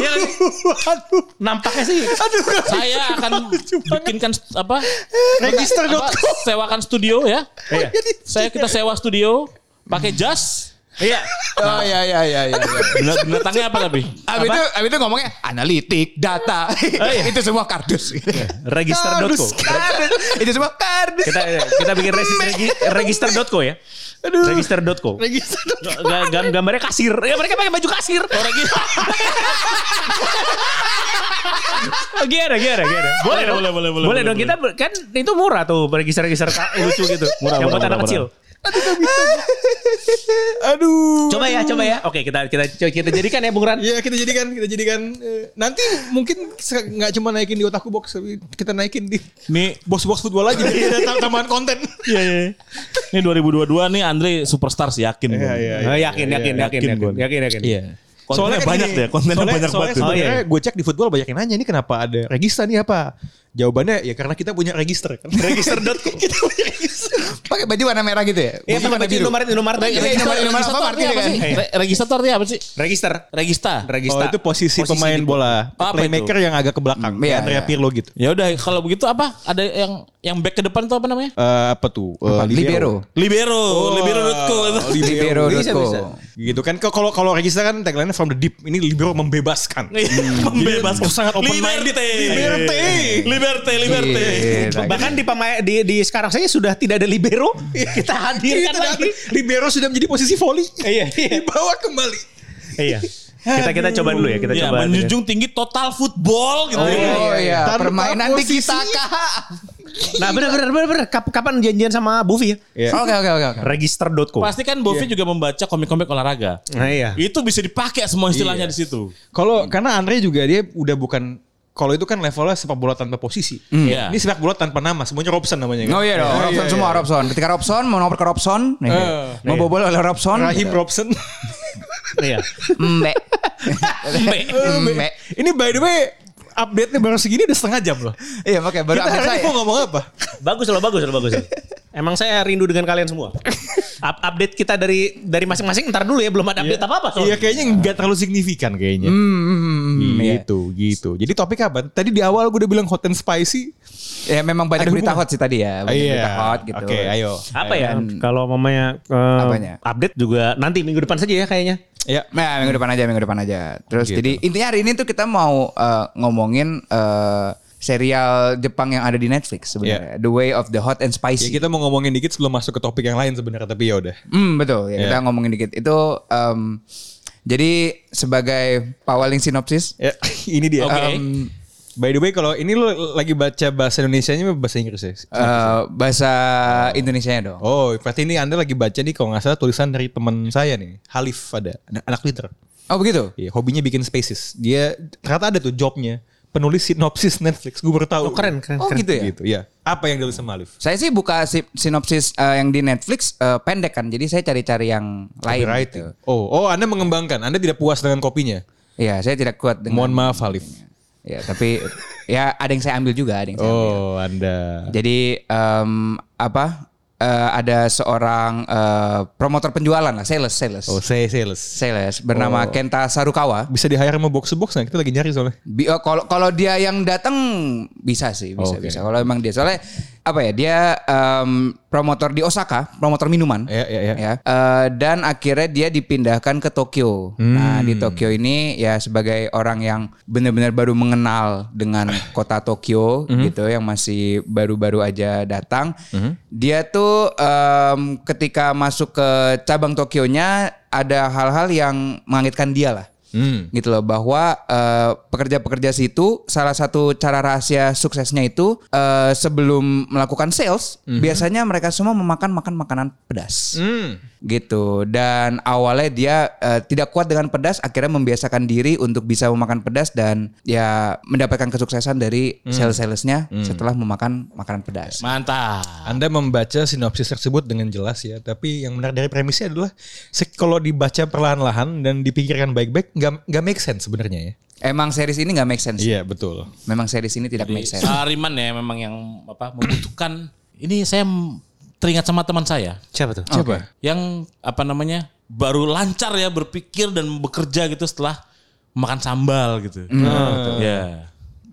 Iya kan? Nampaknya sih.
Saya akan bikinkan st- apa?
Register dong.
apa, sewakan studio ya.
Iya.
Saya kita sewa studio pakai jas.
Iya.
Oh iya iya iya iya. iya.
Bener datangnya apa tapi?
Abis itu, abis itu ngomongnya analitik, data,
iya.
itu semua kardus.
Register.co.
kardus, itu semua kardus.
Kita eh, kita bikin regi- regi- register.co ya.
Aduh.
Register.co.
Register.
Ga- gam- gambarnya kasir. Ya mereka pakai baju kasir. Orang gitu. Gimana, gimana, gimana? ya, Boleh dong, Ah. boleh, boleh, boleh. Boleh dong, kita ber- kan itu murah tuh register-register ka- lucu gitu. Murah, yang buat anak kecil.
Aduh.
Coba ya, coba ya. Oke, kita kita kita jadikan ya Bung Ran.
Ya kita jadikan, kita jadikan. eh, nanti mungkin se- nggak cuma naikin di otakku box, tapi kita naikin di
Nih
box-box football aja. Jadi ada tam- tambahan konten.
Iya, iya. Ini 2022 nih Andre superstar sih yakin. gue.
Eh, yakin, yakin, yakin,
iya, Yakin,
yakin,
Bun.
yakin, yakin.
Kontennya
kan
banyak
gini,
ya, kontennya
soalnya-
banyak
soalnya
banget. tuh.
soalnya-
sebenarnya gue cek di football banyak yang nanya ini kenapa ada register nih apa? Jawabannya ya karena kita punya register kan. Register.co. kita punya register.
Pakai baju warna merah gitu ya? Baju
Iya, pakai
warna
baju
biru.
Indomaret, Indomaret.
Iya,
Register,
Indomaret, Indomaret.
Regista
apa
tuh
artinya
artinya apa
kan?
sih?
Iya.
Re- Regista tuh artinya apa sih?
Register.
Regista.
Oh
Regista.
itu posisi,
Posisi
pemain
di-
bola.
Apa
playmaker yang agak ke belakang.
Hmm, iya,
Kayak Andrea
iya.
Pirlo gitu.
Ya udah kalau begitu apa? Ada yang yang back ke depan itu apa namanya?
Eh, apa tuh? Eh, Ah,
Apa? Libero.
Libero,
Oh,
libero.co.
Libero
Bisa,
Dotco.
bisa.
Gitu kan. Kalau kalau regista kan tagline from the deep. Ini libero membebaskan.
Membebaskan
Oh, sangat open minded.
Liberté.
Liberté.
Liberté, liberté.
Iya,
Bahkan di, pemain, di, di sekarang saya sudah tidak ada libero. Kita hadirkan lagi.
libero sudah menjadi posisi volley.
Iya, iya.
Dibawa kembali.
Iya. Kita kita coba dulu ya. Kita
Ya,
coba.
menjunjung tinggi total football gitu.
Oh iya, iya.
Tanpa
permainan di
posisi.
kita kak.
Nah bener bener bener bener. Kap- Kapan janjian sama Buffy ya?
Oke oke oke. oke.
Register.co.
Pasti kan Bovi
Iya.
juga membaca komik-komik olahraga.
Nah iya.
Itu bisa dipakai semua istilahnya
Iya.
di situ.
Kalau karena Andre juga dia udah bukan kalau itu kan levelnya sepak bola tanpa posisi.
Iya.
Ini sepak bola tanpa nama, semuanya Robson namanya kan.
Hmm. Oh iya dong, Robson semua Robson. Ketika Robson mau nomor ke Robson, nih, mau bobol oleh
Eh,
Robson,
Rahim Robson.
Iya.
Mbak. Mbak.
Ini by the way update-nya baru segini udah setengah jam loh.
Iya makanya baru
Kita
update
hari
saya.
ini mau ngomong apa?
Bagus loh, bagus loh, bagus. loh. Emang saya rindu dengan kalian semua. Up- update kita dari dari masing-masing ntar dulu ya, belum ada update apa-apa
Iya
soalnya.
kayaknya nggak terlalu signifikan kayaknya.
Hmm, iya.
gitu, gitu. Jadi topik apa? Tadi di awal gue udah bilang hot and spicy.
Ya memang banyak
Ada
berita
hubungan. Iya.
hot sih tadi ya, banyak berita hot gitu.
Oke, ayo.
Iya. Apa ya? Kalau mamanya eh,
Apanya?
update juga nanti minggu depan saja ya kayaknya.
Ya.
Nah, minggu depan aja, minggu depan aja. Terus
Gitu.
jadi intinya hari ini tuh kita mau eh, ngomongin eh, serial Jepang yang ada di Netflix sebenarnya, The Way of the Hot and
Ya
Spicy.
Iya. kita mau ngomongin dikit sebelum masuk ke topik yang lain sebenarnya tapi ya udah.
Hmm betul ya kita
Iya.
ngomongin dikit itu em, jadi sebagai pawaling sinopsis
Ya, ini dia.
Oke.
Um, by the way kalau ini lo lagi baca bahasa Indonesianya apa bahasa Inggris ya?
eh, bahasa Indonesia dong.
Oh, berarti ini Anda lagi baca nih kalau nggak salah tulisan dari teman saya nih, Halif ada, anak, anak Twitter.
Oh begitu.
Iya, hobinya bikin spaces. Dia ternyata ada tuh jobnya, penulis sinopsis Netflix. Gue baru tahu.
Oh, keren, keren,
Oh
keren.
gitu ya.
Gitu, ya. Apa yang ditulis sama Halif?
Saya sih buka si- sinopsis eh, yang di Netflix eh, pendek kan, jadi saya cari-cari yang lain.
Copywriting.
Gitu.
Oh, oh Anda mengembangkan. Anda tidak puas dengan kopinya.
Iya, saya tidak kuat dengan.
Mohon maaf Halif.
Ya tapi ya ada yang saya ambil juga, ada yang saya ambil.
Oh, Anda.
Jadi em, apa? eh, ada seorang eh, promotor penjualan lah, sales, sales,
Oh, saya sales.
sales bernama Kenta Sarukawa.
Bisa di hire sama box to box nggak? Kita lagi nyari soalnya.
Bi- oh, Kalau kalau dia yang datang bisa sih bisa
Oh, Oke.
bisa. Kalau emang dia soalnya apa ya dia em, promotor di Osaka, promotor minuman.
Ya, ya, ya.
Ya. Eh, dan akhirnya dia dipindahkan ke Tokyo. Nah, di Tokyo ini ya sebagai orang yang benar-benar baru mengenal dengan kota Tokyo gitu yang masih baru-baru aja datang. Dia tuh em, ketika masuk ke cabang Tokyonya ada hal-hal yang mengagetkan dia lah
Hmm.
gitu loh bahwa eh, pekerja-pekerja situ salah satu cara rahasia suksesnya itu eh, sebelum melakukan sales biasanya mereka semua memakan makan makanan pedas
Hmm.
gitu dan awalnya dia eh, tidak kuat dengan pedas akhirnya membiasakan diri untuk bisa memakan pedas dan ya mendapatkan kesuksesan dari
Hmm.
sales-salesnya setelah memakan makanan pedas
Mantap.
Anda membaca sinopsis tersebut dengan jelas ya, tapi yang benar dari premisnya adalah se- kalau dibaca perlahan-lahan dan dipikirkan baik-baik, nggak nggak make sense sebenarnya ya.
emang series ini nggak make sense
Iya betul.
memang series ini tidak make sense
Sariman ya memang yang apa membutuhkan. Ini saya m- teringat sama teman saya
Siapa tuh?
Coba
yang apa namanya baru lancar ya berpikir dan bekerja gitu setelah makan sambal gitu. Ya.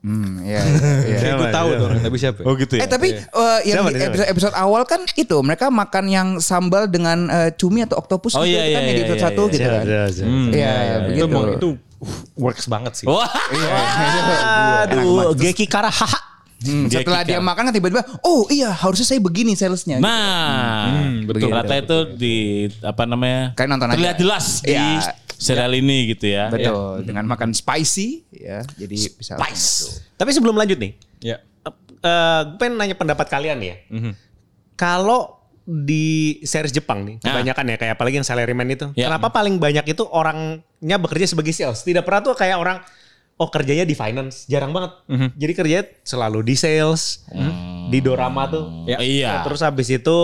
Hmm, ya, ya, ya.
Kayak gue tahu tuh orang tapi siapa. ya?
Oh gitu
Eh tapi eh, yang
Siapa
di
nih, siapa?
episode, episode awal kan itu mereka makan yang sambal dengan eh, cumi atau oktopus
Oh,
gitu
iya,
itu kan
iya,
yang di
iya,
episode
iya,
satu
iya.
gitu kan.
Hmm,
Iya,
Itu,
begitu.
Gitu.
emang- itu uh, works banget
Oh.
sih.
Wah.
Aduh, Geki Karahaha.
Hmm,
Dia
setelah
kicker.
dia makan kan tiba-tiba oh iya harusnya saya begini salesnya.
Nah, betul. Ternyata itu di apa namanya?
Kayak nonton aja.
terlihat jelas di
Iya.
serial ini gitu ya.
Betul dengan makan spicy ya jadi bisa
Spice.
Tapi sebelum lanjut nih,
Ya.
eh, gue pengen nanya pendapat kalian ya.
Mhm.
Kalau di series Jepang nih,
Ah.
kebanyakan ya kayak apalagi yang salaryman itu.
Ya.
Kenapa paling banyak itu orangnya bekerja sebagai sales? Tidak pernah tuh kayak orang oh kerjanya di finance, jarang banget.
Mhm.
Jadi kerjanya selalu di sales, di dorama tuh.
Ya.
Hmm. Iya.
Terus habis itu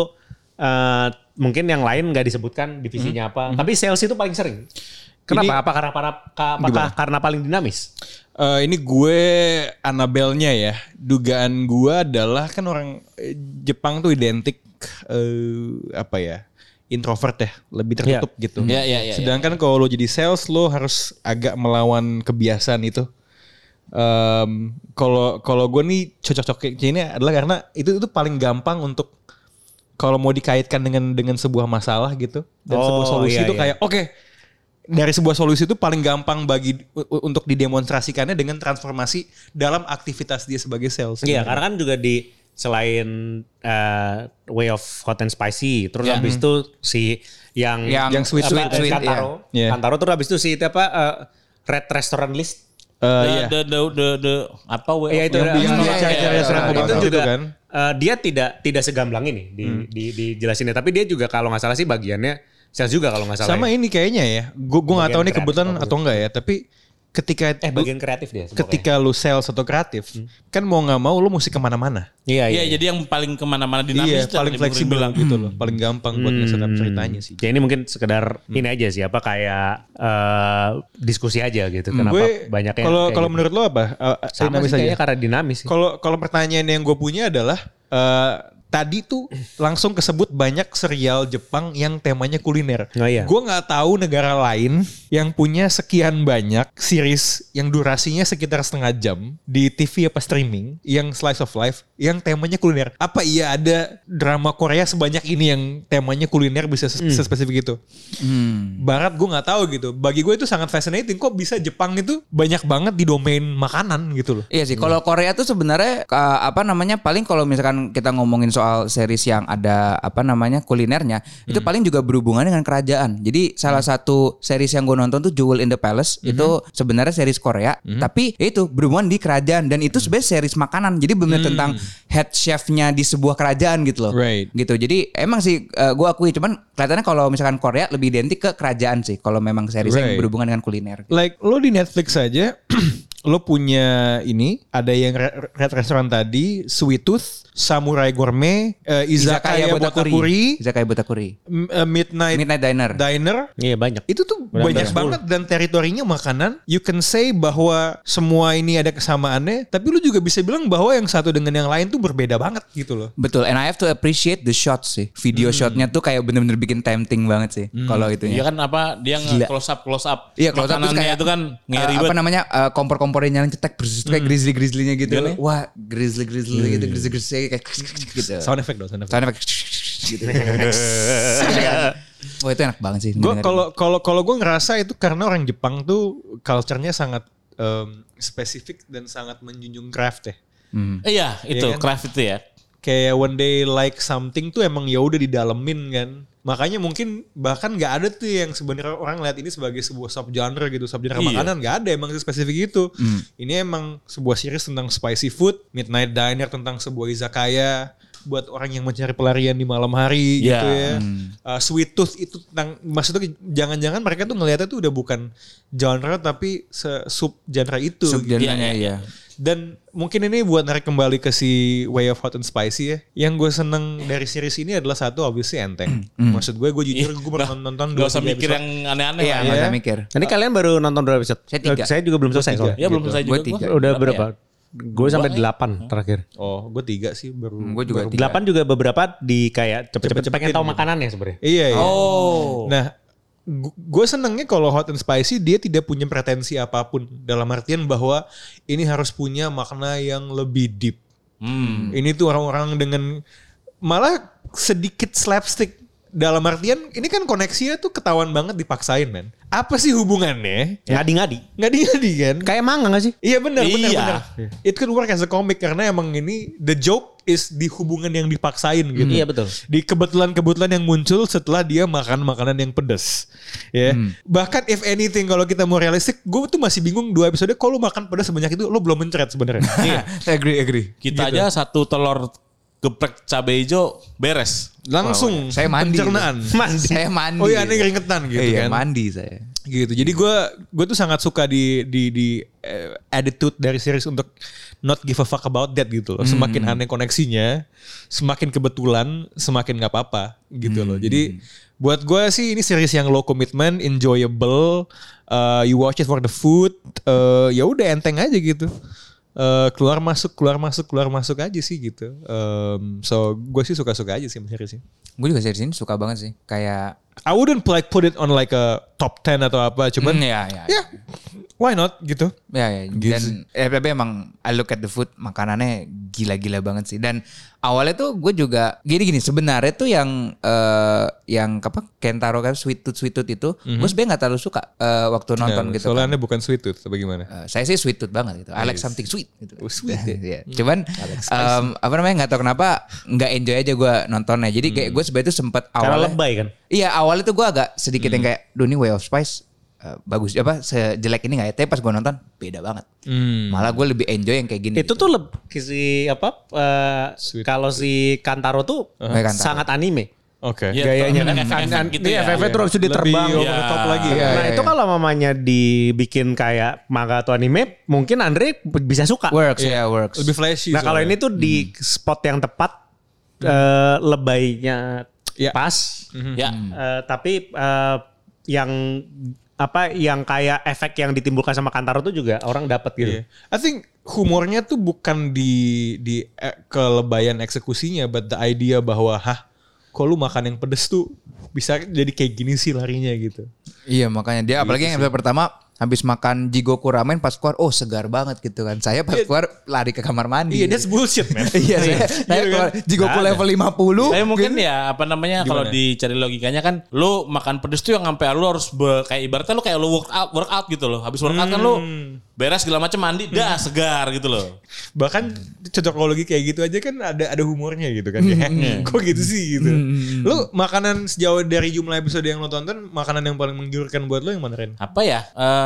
eh, mungkin yang lain nggak disebutkan
Mhm.
divisinya apa, tapi sales itu paling sering. Kenapa? apa karena para- ka- apakah karena paling dinamis?
Eh, ini gue Annabelle-nya ya. Dugaan gue adalah kan orang eh, Jepang tuh identik eh, apa ya introvert ya lebih tertutup gitu.
Iya, iya, iya,
Sedangkan kalau lo jadi sales lo harus agak melawan kebiasaan itu. Em, Kalau kalau gue nih cocok-cocoknya ini adalah karena itu itu paling gampang untuk kalau mau dikaitkan dengan dengan sebuah masalah gitu dan sebuah
Oh,
solusi
iya,
itu
iya.
kayak oke dari sebuah solusi itu paling gampang bagi u- u- untuk didemonstrasikannya dengan transformasi dalam aktivitas dia sebagai sales.
Iya, karena kan juga di selain eh, way of hot and spicy, terus
Iya.
habis itu si yang
Yang- Yang
sweet,
apa,
Hmm. sweet,
eh,
sweet,
Kantaro,
iya. Iya.
Kantaro terus habis itu si itu apa eh, red restaurant list.
Eh,
The,
iya.
the, the, the, the- apa way
Iya,
of-
itu ada-
yang
dia cari-
iya,
cari restoran
itu
kebakaran
juga
itu kan.
eh, dia tidak tidak segamblang ini di,
Hmm.
di, dijelasinnya, tapi dia juga kalau nggak salah sih bagiannya sales juga kalau nggak salah.
Sama
ya.
ini kayaknya ya. Gue gue nggak
Bagian
tahu nih
kreatif
kebetulan
apa
atau enggak ya. Tapi ketika
eh bagian kreatif dia. pokoknya. Hmm.
ketika lu sales atau kreatif, kan mau nggak mau lu mesti kemana-mana.
iya, iya.
Iya, jadi yang paling kemana-mana
Iya,
dinamis
paling
itu yang tadi Bung Rin
fleksibel
bilang.
gitu loh, paling gampang buat nge up ceritanya sih. Hmm.
Ya ini mungkin sekedar ini aja sih apa kayak eh, diskusi aja gitu.
Hmm.
Kenapa
Gue
banyak yang
kalau
kayak
kalau
gitu.
menurut lo apa? Eh, eh,
sama
dinamis
sih kayaknya
aja.
karena dinamis sih.
Kalau kalau pertanyaan yang gue punya adalah eh, tadi tuh langsung kesebut banyak serial Jepang yang temanya kuliner.
Oh iya.
Gue nggak tahu negara lain yang punya sekian banyak series yang durasinya sekitar setengah jam di TV apa streaming yang slice of life yang temanya kuliner. Apa iya ada drama Korea sebanyak ini yang temanya kuliner bisa ses-
Hmm.
sespesifik itu? Barat gue nggak tahu gitu. Bagi gue itu sangat fascinating. Kok bisa Jepang itu banyak banget di domain makanan gitu loh.
Iya sih, kalau Korea tuh sebenarnya eh, apa namanya paling kalau misalkan kita ngomongin soal series yang ada apa namanya kulinernya, itu
Hmm.
paling juga berhubungan dengan kerajaan. Jadi salah satu series yang gue nonton tuh Jewel in the Palace
Hmm.
itu sebenarnya series Korea, tapi ya itu berhubungan di kerajaan dan
Hmm.
itu sebenarnya series makanan. Jadi benar tentang head chefnya di sebuah kerajaan gitu loh.
Right.
Gitu. Jadi emang sih eh, gue akui cuman kelihatannya kalau misalkan Korea lebih identik ke kerajaan sih kalau memang series
Right.
yang berhubungan dengan kuliner.
like lo di Netflix aja lo punya ini ada yang re- red restaurant tadi Sweet Tooth Samurai Gourmet eh, Izakaya, Botakuri
Izakaya Botakuri.
M- eh, Midnight,
Midnight Diner.
Diner
Iya banyak.
itu tuh banyak banget dan teritorinya makanan you can say bahwa semua ini ada kesamaannya tapi lu juga bisa bilang bahwa yang satu dengan yang lain tuh berbeda banget gitu loh
Betul, and I have to appreciate the shots sih. Video shotnya tuh kayak bener-bener bikin tempting banget sih. Kalau itu
Iya
ya.
kan apa dia nge
Gila.
close up close up.
Iya, kalau terus
Makanannya
kayak
itu kan ngeri
eh, apa
banget.
namanya eh, kompor-kompornya nyalain cetek berus kayak grizzly-grizzlynya gitu.
Iya nih.
Wah, grizzly-grizzly gitu, grizzly-grizzly kayak gitu.
sound effect dong sound effect
Sound effect gitu. Iya kan? Wah, itu enak banget sih.
gue
dengerin.
kalau kalau kalau gue ngerasa itu karena orang Jepang tuh culture-nya sangat em, spesifik dan sangat menjunjung craft ya
Hmm.
Iya, itu
Iya kan?
craft itu ya.
kayak one day like something tuh emang ya udah didalemin kan makanya mungkin bahkan nggak ada tuh yang sebenarnya orang lihat ini sebagai sebuah subgenre gitu subgenre
Iya. Hmm.
makanan nggak ada emang spesifik itu ini emang sebuah series tentang spicy food midnight diner tentang sebuah izakaya buat orang yang mencari pelarian di malam hari
Iya.
gitu ya Uh, sweet tooth itu tentang maksudnya jangan-jangan mereka tuh ngelihatnya tuh udah bukan genre tapi sub genre itu gitu.
Subgenrenya,
Iya,
iya.
Dan mungkin ini buat narik kembali ke si Way of Hot and Spicy ya. Yang gue seneng dari series ini adalah satu obviously
Hmm,
enteng. Maksud gue, gue jujur gue pernah nonton
Gak
dua
Iya. usah
tiga
mikir
episode.
yang aneh-aneh
Iya,
lah. ya.
nggak usah mikir.
Ini kalian baru nonton dua episode?
Saya tiga.
Saya juga belum selesai
tiga.
soalnya.
Ya belum selesai
Gua
juga.
tiga.
Gitu. Udah
Apa
berapa?
ya?
Gue sampai delapan terakhir.
Oh, gue tiga sih baru.
Hmm,
Gue Hmm, juga
baru-
tiga.
Delapan juga beberapa di kayak cepet-cepet pengen tahu makanannya sebenarnya.
Iya iya.
Oh.
Nah, gu- gue senengnya kalau Hot and Spicy dia tidak punya pretensi apapun dalam artian bahwa ini harus punya makna yang lebih deep.
Hmm.
Ini tuh orang-orang dengan malah sedikit slapstick dalam artian ini kan koneksinya tuh ketahuan banget dipaksain men. Apa sih hubungannya?
Ngadi-ngadi.
Nggak diganti kan?
Kayak manga gak sih?
Iya benar benar
Iya.
benar. It could work as a comic karena emang ini the joke is di hubungan yang dipaksain gitu.
Iya, betul.
Di kebetulan-kebetulan yang muncul setelah dia makan makanan yang pedas. Ya.
Hmm.
Bahkan if anything kalau kita mau realistik, gue tuh masih bingung dua episode kalau makan pedas sebanyak itu lo belum mencret sebenarnya. Iya.
Agree, agree.
Kita aja satu telur geprek cabai hijau beres.
Langsung
Saya mandi. gitu.
pencernaan.
Mandi.
Saya mandi.
Oh iya, ini keringetan gitu
Iya,
kan.
mandi saya.
gitu jadi gue gue tuh sangat suka di di di eh, attitude dari series untuk not give a fuck about that gitu loh semakin aneh koneksinya semakin kebetulan semakin nggak apa-apa gitu loh jadi buat gue sih ini series yang low commitment eh, enjoyable uh, you watch it for the food uh, ya udah enteng aja gitu eh, keluar masuk keluar masuk keluar masuk aja sih gitu. Em, so gue sih suka-suka aja sih sama seriesnya.
Gue juga serius ini suka banget sih. Kayak
I wouldn't like put it on like a top 10 atau apa, cuman
Hmm, ya, ya,
ya, why not gitu.
Ya, ya. dan eh, tapi emang I look at the food makanannya gila-gila banget sih. Dan awalnya tuh gue juga gini-gini sebenarnya tuh yang eh, yang apa Kentaro kan sweet tooth sweet tooth itu
Mhm.
gue sebenarnya nggak terlalu suka eh, waktu nonton
Nah,
gitu.
Soalnya
kan.
anda bukan sweet tooth atau bagaimana?
Eh, saya sih sweet tooth banget gitu. I like something sweet gitu.
Oh, sweet ya.
Iya. Cuman em, apa namanya nggak tahu kenapa nggak enjoy aja gue nontonnya. Jadi kayak
Mhm.
gue sebenarnya tuh sempet
Karena
awalnya
lebay kan.
Iya awalnya tuh gue agak sedikit yang
Hmm.
kayak, duh ini Way of Spice eh, bagus apa sejelek ini nggak ya? Tapi pas gue nonton beda banget.
Hmm.
Malah gue lebih enjoy yang kayak gini. gitu.
Itu tuh leb, si apa eh,
Sweet.
kalau si Kantaro tuh
Kayak Kantaro.
sangat anime.
Oke.
Iya,
Gayanya
tuh,
kan
efek-efek
kan
gitu
dia
ya.
FF terus itu diterbang.
Lebih ya, over the top
Iya.
lagi.
Iya,
nah,
iya,
itu
iya.
kalau mamanya dibikin kayak manga atau anime, mungkin Andre bisa suka.
works ya works.
Lebih flashy.
Nah, kalau ini
soalnya.
tuh di spot yang tepat eh, lebaynya
Iya.
pas.
Ya.
Eh, tapi eh, yang apa yang kayak efek yang ditimbulkan sama Kantaro tuh juga orang dapat gitu.
Iya. I think humornya tuh bukan di di eh, kelebayan eksekusinya, but the idea bahwa hah, kok lu makan yang pedes tuh bisa jadi kayak gini sih larinya gitu.
Iya makanya dia apalagi yang episode pertama habis makan jigoku ramen pas keluar oh segar banget gitu kan. Saya pas keluar lari ke kamar mandi.
Iya, kan? that's bullshit, man.
Iya, saya, saya keluar jigoku level 50.
Tapi mungkin ya apa namanya kalau
Gimana?
dicari logikanya kan lu makan pedes tuh yang sampai lu harus be- kayak ibaratnya lu kayak lu workout workout gitu loh. Habis workout kan lu beres segala macam mandi dah segar gitu loh.
Bahkan cocokologi kayak gitu aja kan ada ada humornya gitu kan. Ya. Kok gitu sih gitu. Lu makanan sejauh dari jumlah episode yang lo tonton, makanan yang paling menggiurkan buat lo yang mana Ren?
Apa ya? Eh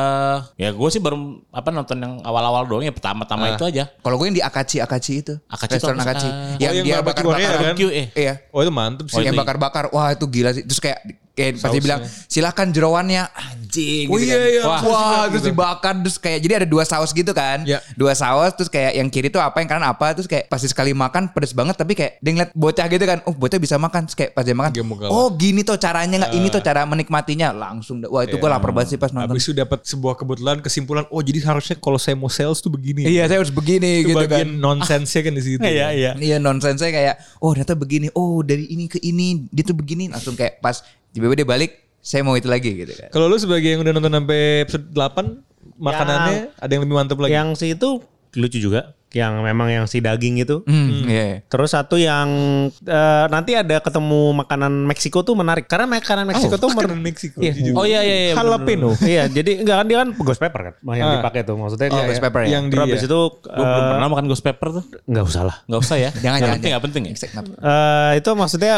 ya gue sih baru apa nonton yang awal-awal doang ya pertama-tama itu aja.
Kalau gue yang di Akachi Akachi itu.
Akachi itu apa
restoran
sih?
Akachi.
Ah.
yang,
Oh, yang
dia
barbecue
bakar-bakar.
Korea kan?
Barbecue eh.
Iya.
Oh itu mantep sih.
yang bakar-bakar. Wah, itu gila sih. Terus kayak kayak pas dia bilang silakan jeroannya anjing
Oh, iya,
kan.
iya.
Wah,
Terus
wah,
gitu.
terus dibakar terus kayak jadi ada dua saus gitu kan.
Iya.
Dua saus terus kayak yang kiri tuh apa yang kanan apa terus kayak pasti sekali makan pedes banget tapi kayak dia ngeliat bocah gitu kan. Oh, bocah bisa makan. Terus kayak pas dia makan.
Dia mau kalah.
Oh, gini tuh caranya nggak ini tuh cara menikmatinya langsung. Wah, itu gue lapar banget sih pas nonton.
Ya. Habis itu dapat sebuah kebetulan kesimpulan, oh jadi harusnya kalau saya mau sales tuh begini.
Iya, saya harus begini
itu
gitu
bagian
kan.
nonsense-nya kan di situ.
Iya, iya.
Iya nonsense saya kayak oh ternyata begini oh dari ini ke ini dia tuh begini langsung kayak pas tiba-tiba dia balik saya mau itu lagi gitu kan.
Kalau lu sebagai yang udah nonton sampai episode 8 makanannya ada yang lebih mantap lagi.
Yang si itu lucu juga, yang memang yang si daging itu.
Hmm, iya.
Terus satu yang eh, nanti ada ketemu makanan Meksiko tuh menarik karena makanan Meksiko tuh mer-
makanan Meksiko.
Iya.
jujur.
Oh iya iya iya.
jalapeno. iya, jadi enggak kan dia kan ghost pepper kan yang
Ah.
dipakai tuh maksudnya
Oh,
kayak-
ghost pepper ya.
Yang di
Terus habis itu
Gue belum pernah makan ghost pepper tuh.
eh, enggak usah lah.
Enggak usah ya.
Jangan
Nggak
jangan.
penting,
jangan.
enggak penting ya.
Exact, kenapa?
Eh, itu maksudnya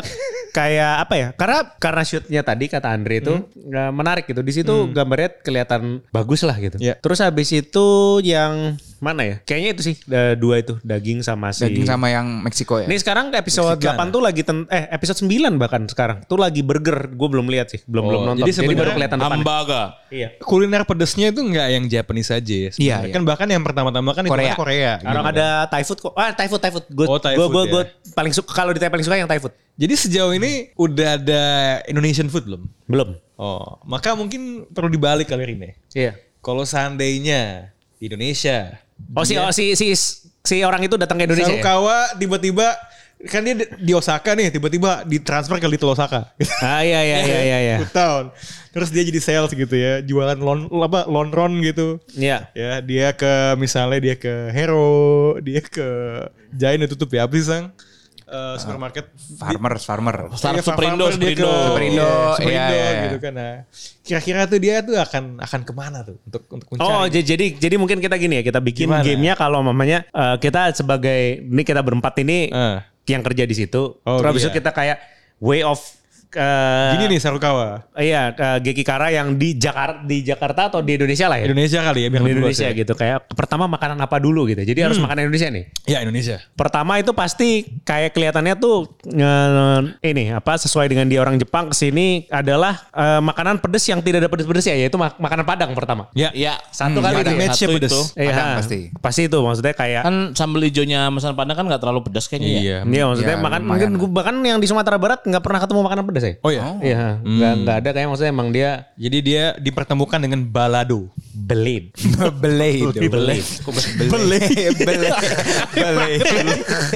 kayak apa ya? Karena karena shootnya tadi kata Andre itu
Hmm.
eh, menarik gitu. Di situ gambarnya kelihatan bagus lah gitu.
Iya.
Terus habis itu yang mana ya? Kayaknya itu sih eh, dua itu daging sama si
Daging sama yang Meksiko ya.
Ini sekarang episode
ya.
8 tuh lagi ten- eh episode 9 bahkan sekarang tuh lagi burger. Gue belum lihat sih, belum belum nonton.
Oh, jadi
Oh, Jadi, baru
sebenarnya
kelihatan depannya.
Hambaga.
Iya.
kuliner pedesnya itu nggak yang Japanese aja. ya sebenarnya.
Iya, iya.
Kan bahkan yang pertama-tama kan itu
Korea.
kan Korea.
Orang
gitu.
ada Thai food kok. Ah, Thai food, Thai food. Gue
Oh, Thai food ya.
paling suka kalau di Thai paling suka yang Thai food.
Jadi sejauh ini udah ada Indonesian food belum?
Belum.
Oh, maka mungkin perlu dibalik kali ini.
Iya.
Kalau seandainya di Indonesia
Oh si,
Iya.
oh, si si si orang itu datang ke Indonesia. ya?
Sarukawa tiba-tiba kan dia di- di Osaka nih tiba-tiba ditransfer ke Little Osaka.
Ah iya iya iya iya iya.
Good town. Terus dia jadi sales gitu ya, jualan lon apa lonron gitu.
Iya.
Ya, dia ke misalnya dia ke Hero, dia ke Jain udah tutup ya, apa sih sang? Eh, supermarket
Farmers, farmer.
Oh,
Star
Iya,
Superindo,
Farmer, dia ke-
Superindo.
Superindo,
iya, Superindo
iya, iya.
gitu kan. Nah, kira-kira tuh dia tuh akan akan kemana tuh untuk untuk mencari.
Oh j- jadi jadi mungkin kita gini ya kita bikin
Gimana?
gamenya kalau mamanya eh, kita sebagai ini kita berempat ini
Eh.
yang kerja di situ.
Oh,
Terus habis
iya.
itu kita kayak way of eh,
Gini nih Sarukawa,
Iya, eh, Geki Kara yang di Jakarta, di Jakarta atau di Indonesia lah ya.
Indonesia kali ya biar
Di
lebih luas
Indonesia
ya.
gitu. Kayak pertama makanan apa dulu gitu. Jadi harus makanan Indonesia nih.
Ya Indonesia.
Pertama itu pasti kayak kelihatannya tuh eh, ini apa sesuai dengan dia orang Jepang kesini adalah eh, makanan pedes yang tidak ada pedes-pedesnya yaitu mak- makanan Padang pertama.
Ya.
Iya.
Satu kali
Padang.
itu ya?
Match-nya
Satu
pedes.
itu.
Padang
Iya,
pasti.
Pasti itu maksudnya kayak
Kan sambal hijaunya mesan padang kan nggak terlalu pedas kayaknya ya.
Iya maksudnya
Ya,
makan
lumayan
mungkin
lah.
gua- bahkan yang di Sumatera Barat nggak pernah ketemu makanan pedas ya.
Oh ya.
Iya, nggak nggak ada kayak maksudnya emang dia
Jadi dia dipertemukan dengan balado.
Belin.
Belay dong.
Belin.
Belay. Belay. Belay.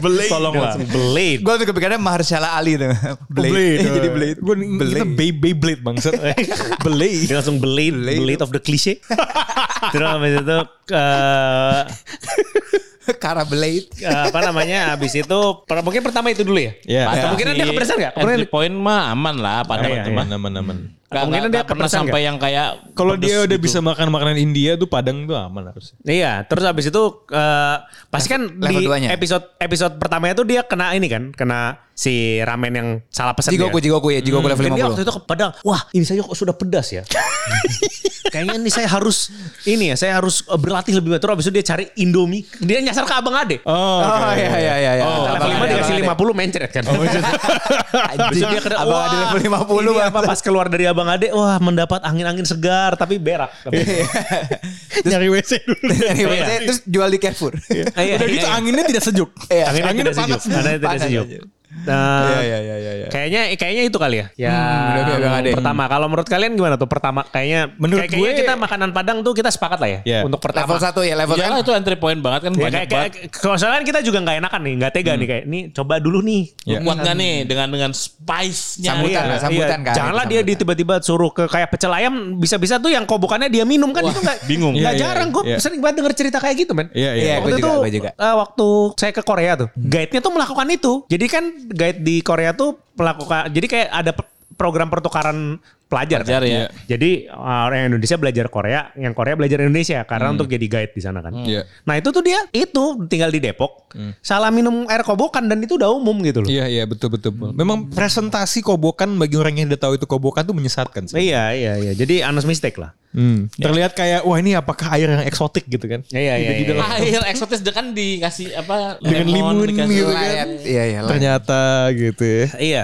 Belay.
Tolonglah. Oh, Belin.
Gue tuh kepikirannya Mahershala Ali tuh. Blade. Jadi blade.
Gue kita Beyblade blade bangsat. Belay.
Dia langsung belin. Belin of the cliche. Terus habis itu eh,
Kara blade.
apa namanya habis itu per- mungkin pertama itu dulu ya.
Iya.
Atau Kemungkinan dia kepedesan nggak? Kemungkinan
Entry point mah aman lah pada
Iya,
teman. Gak,
Kemungkinan dia
pernah
kepedesan
sampai yang kayak
Kalau dia
pedes
udah
gitu.
bisa makan makanan India tuh Padang tuh aman harusnya.
Iya, terus habis itu eh, pasti kan
level
di
duanya.
episode episode pertamanya tuh dia kena ini kan, kena si ramen yang salah pesan
Jigoku,
dia.
Jigoku ya. Jigoku
Dan dia
level
Hmm.
50.
waktu itu ke Padang, wah ini saya kok sudah pedas ya. Kayaknya ini saya harus ini ya, saya harus eh, berlatih lebih banyak. Terus habis itu dia cari Indomie, dia nyasar ke Abang Ade.
Oh,
iya iya iya. iya.
Oh, Level
Abang
lima
Ade,
dikasih
Abang Ade.
50 mencret kan. Habis
Anjing,
itu dia kena,
Abang
wah,
Ade level 50
ini
Bang.
apa pas keluar dari Abang Ade, wah mendapat angin-angin segar tapi berak.
nyari WC dulu.
Dari WC,
Iya.
Iya. Terus jual di Carrefour.
Udah gitu anginnya tidak sejuk.
Iya.
Anginnya,
Anginnya
tidak sejuk.
panas nih.
Anginnya tidak
Panas
sejuk.
aja.
Nah,
Iya iya iya iya.
Kayaknya kayaknya itu kali ya. Ya.
udah kayak Bang Ade.
pertama kalau menurut kalian gimana tuh pertama kayaknya
Menurut
kayak- kayaknya
gue-
kita makanan Padang tuh kita sepakat lah ya
Iya.
untuk pertama.
Level 1 ya level
Iya lah,
1.
itu entry point banget kan
Ya,
banyak
kayak, kayak,
banget.
kalau soalnya kita juga nggak enakan nih, nggak tega nih kayak ini coba dulu nih.
Iya.
Kuat nggak nih dengan dengan spice-nya?
Sambutan
Iya.
lah, sambutan kan.
Janganlah
itu
dia di
sambutan.
tiba-tiba suruh ke kayak pecel ayam bisa-bisa tuh yang kobokannya dia minum kan itu nggak
bingung.
nggak
Iya, iya,
jarang gue
iya.
sering banget denger cerita kayak gitu men.
Iya, iya.
Iya,
Waktu
gue juga,
itu
gue juga.
eh, waktu saya ke Korea tuh, guide-nya tuh melakukan itu. Jadi kan guide di Korea tuh melakukan, jadi kayak ada pe- program pertukaran pelajar.
Pelajar,
kan?
iya.
ya.
Jadi eh, orang yang Indonesia belajar Korea, yang Korea belajar Indonesia karena untuk jadi guide di sana kan.
Hmm. Iya. Hmm.
Nah itu tuh dia itu tinggal di Depok, salah minum air kobokan dan itu udah umum gitu loh.
Iya iya betul betul. Memang presentasi kobokan bagi orang yang udah tahu itu kobokan tuh menyesatkan sih.
Iya iya iya. Jadi honest mistake lah.
Hmm. Terlihat kayak wah ini apakah air yang eksotik gitu kan?
Iya iya. iya.
Air eksotis dia kan dikasih apa?
Dengan limun
dikasih-
gitu kan.
Layat, Iya iya. layat.
Ternyata gitu ya.
Iya.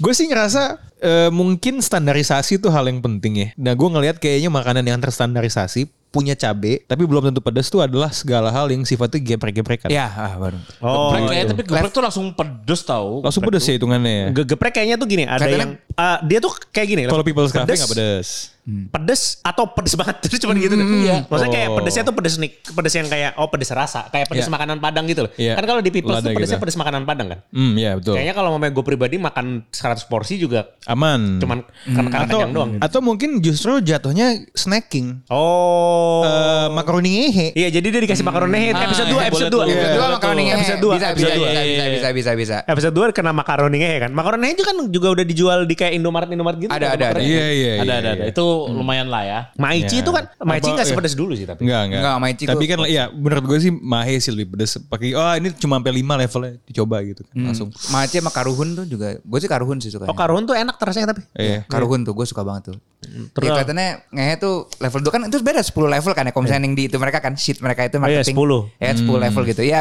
Gue sih ngerasa eh, mungkin standarisasi itu hal yang penting ya. Nah gue ngelihat kayaknya makanan yang terstandarisasi punya cabe tapi belum tentu pedas tuh adalah segala hal yang sifatnya geprek-geprekan.
Ya, ah, baru.
Oh.
Geprek
iya.
kayak, tapi geprek tuh langsung pedes tau.
Langsung pedas ya hitungannya. ya.
Ge- Geprek kayaknya tuh gini, ada
Kadang-
yang ah, dia tuh kayak gini.
Kalau People's Cafe
pedes,
nggak pedas.
pedes atau pedes banget terus cuman gitu tuh.
Iya.
Maksudnya kayak
Oh.
pedesnya tuh pedes nih, pedes yang kayak oh pedes rasa, kayak pedes
Iya.
makanan Padang gitu loh.
Iya.
Kan kalau di People tuh
Lada
pedesnya
gitu.
pedes makanan Padang kan.
Hmm ya betul.
Kayaknya kalau mamanya gue pribadi makan 100 porsi juga
Aman.
cuman
Hmm.
karena karena
atau
kenyang doang. gitu.
atau mungkin justru jatuhnya snacking.
Oh.
Eh, Hmm. makaroni ngehe.
Iya, jadi dia dikasih makaroni head
Ah,
episode
iya,
2 episode
boleh tuh.
2.
Iya.
Episode dua makaroni ngehe.
ya? Episode dua,
Eh, Bisa bisa bisa
episode
dua.
bisa bisa bisa bisa.
Episode 2 kena makaroni ngehe kan. Makaroni ngehe juga kan juga udah dijual di kayak Indomaret Indomaret gitu.
Ada, ada, ada.
Iya iya.
ada
iya,
ada ada.
iya.
Itu lumayan lah ya.
Maici
Iya.
itu kan Maici
Apa-
enggak
iya.
sepedes dulu sih tapi.
Enggak, enggak.
Enggak, sama Ichigo.
Tapi kan ya menurut gue sih Mahe sih lebih pedes. Pakai oh ini cuma sampai 5 levelnya dicoba gitu
Eh,
kan langsung.
Mace sama Karuhun tuh juga. Gue sih Karuhun sih suka.
Oh, karun tuh enak terasnya tapi.
Iya.
Karuhun tuh gue suka banget tuh.
Terus-
Terus ya, kelihatannya ngehe tuh level 2 kan itu beda 10 level kan ya kalau misalnya yang di itu mereka kan sheet mereka itu
Eh. iya,
marketing.
10.
Ya 10 level gitu. Ya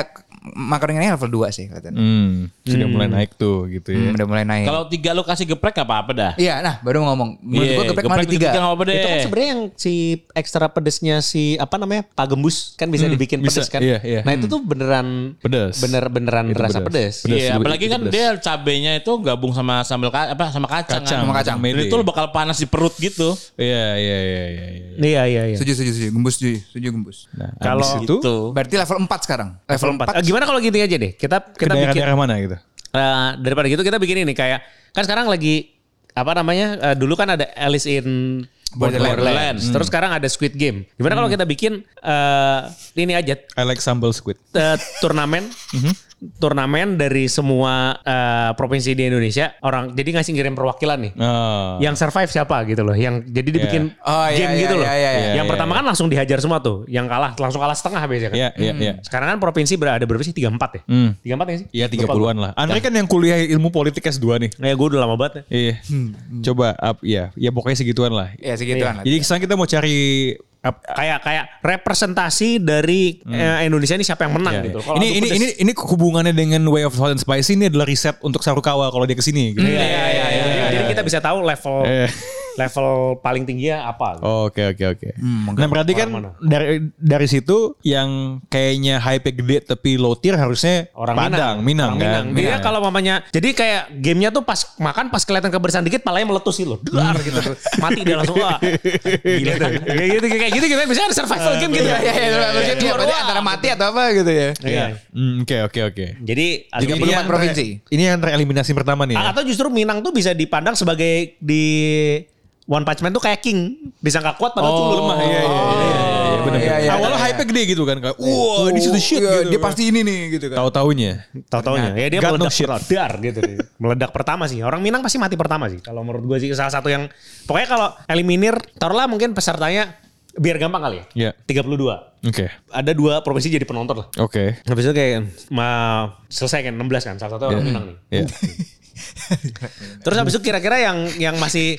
makaroni ngehe level 2 sih kelihatannya.
Hmm, sudah mulai naik tuh gitu ya.
Hmm, udah mulai naik.
Kalau tiga lo kasih geprek gak apa-apa dah.
Iya, nah baru mau ngomong. Menurut
Iya,
gue geprek malah di
di tiga
tiga.
nggak apa-apa deh.
Itu
Eh.
kan sebenarnya yang si ekstra pedesnya si apa namanya Pak Gembus kan bisa dibikin
bisa,
pedes kan.
iya, iya.
Nah itu tuh beneran
Pedes.
Bener beneran
Itu
rasa
pedes.
pedes.
Pedes,
Iya,
lebih-
apalagi
itu
kan
pedes.
dia cabenya itu gabung sama sambal ka- apa sama kacang.
Kacang,
kan.
sama kacang.
Dan
Mede.
itu lo bakal panas di perut gitu.
Iya, iya, iya, iya, iya.
Iya iya iya.
Setuju, setuju, setuju. Gembus, setuju, setuju gembus.
Nah,
Kalau- gitu.
habis itu
Tuh.
Berarti level 4 sekarang. Level 4.
Eh, gimana kalau gini aja deh? Kita
ke
kita bikin
daerah-daerah mana gitu?
eh, daripada gitu kita bikin ini kayak kan sekarang lagi apa namanya? eh, dulu kan ada Alice in
Borderlands.
Borderlands. Terus
Hmm.
sekarang ada Squid Game. Gimana kalau kita bikin eh, ini aja
I like sambal squid.
eh, turnamen
Hmm.
turnamen dari semua eh, provinsi di Indonesia orang jadi ngasih ngirim perwakilan nih
Ah.
Oh. yang survive siapa gitu loh yang jadi dibikin
Oh, iya,
game
iya,
gitu loh
iya, iya,
iya.
yang pertama kan langsung dihajar semua tuh yang kalah langsung kalah setengah biasanya kan
Iya, iya, iya.
sekarang kan provinsi ber- ada berapa sih tiga empat ya
Hmm.
tiga empat ya sih
Iya 30-an lah. Andre kan yang kuliah ilmu politik S2 nih.
ya gue udah lama banget ya.
Iya. Coba up ya. Ya pokoknya segituan lah.
Ya segituan lah.
Jadi sekarang kita mau cari up,
kayak kayak representasi dari eh, Indonesia ini siapa yang menang
Ya,
gitu
ya.
loh. Kalau
Hmm. ini
aku
ini
pedes-
ini ini hubungannya dengan Way of Hot and Spicy ini adalah riset untuk Sarukawa kalau dia kesini. Gitu.
Iya, iya, iya, iya. Jadi kita bisa tahu level
Iya.
level paling tingginya apa? gitu.
Oke oke oke. Nah berarti kan dari dari situ yang kayaknya hype gede tapi low tier harusnya
Orang
Padang, Minang,
Minang. Orang Minang.
kan.
Dia
Minang.
kalau mamanya jadi kayak gamenya tuh pas makan pas kelihatan kebersihan dikit palanya meletus gitu loh. Duar gitu. Mati dia langsung wah. Gila kan. Kayak gitu kayak gitu gitu biasanya ada survival game gitu.
Ya, ya, ya, maksudnya dia berarti antara mati atau apa gitu ya.
Iya.
Hmm, Oke oke oke.
Jadi
Jadi
akhirnya-
ini
34
yang
provinsi.
ter- Ini yang tereliminasi pertama nih. ya?
atau justru Minang tuh bisa dipandang sebagai di One Punch Man tuh kayak king, bisa nggak kuat padahal tuh lemah.
Iya iya iya, iya. iya,
Oh,
bener,
Iya,
bener.
iya,
Awalnya
iya,
hype gede gitu kan kayak wah ini sudah shit
Iya,
gitu.
Dia pasti ini nih gitu kan.
tahu-taunya.
Tahu-taunya ya dia
God knows
meledak
shit.
dar gitu deh. Meledak pertama sih. Orang Minang pasti mati pertama sih. Kalau menurut gue sih salah satu yang pokoknya kalau eliminir taruhlah mungkin pesertanya biar gampang kali
Iya.
ya. 32.
Oke.
Ada dua provinsi jadi penonton lah.
Oke.
Habis itu kayak ma, selesai kan 16 kan salah satu orang Minang nih.
Iya.
Terus habis itu kira-kira yang yang masih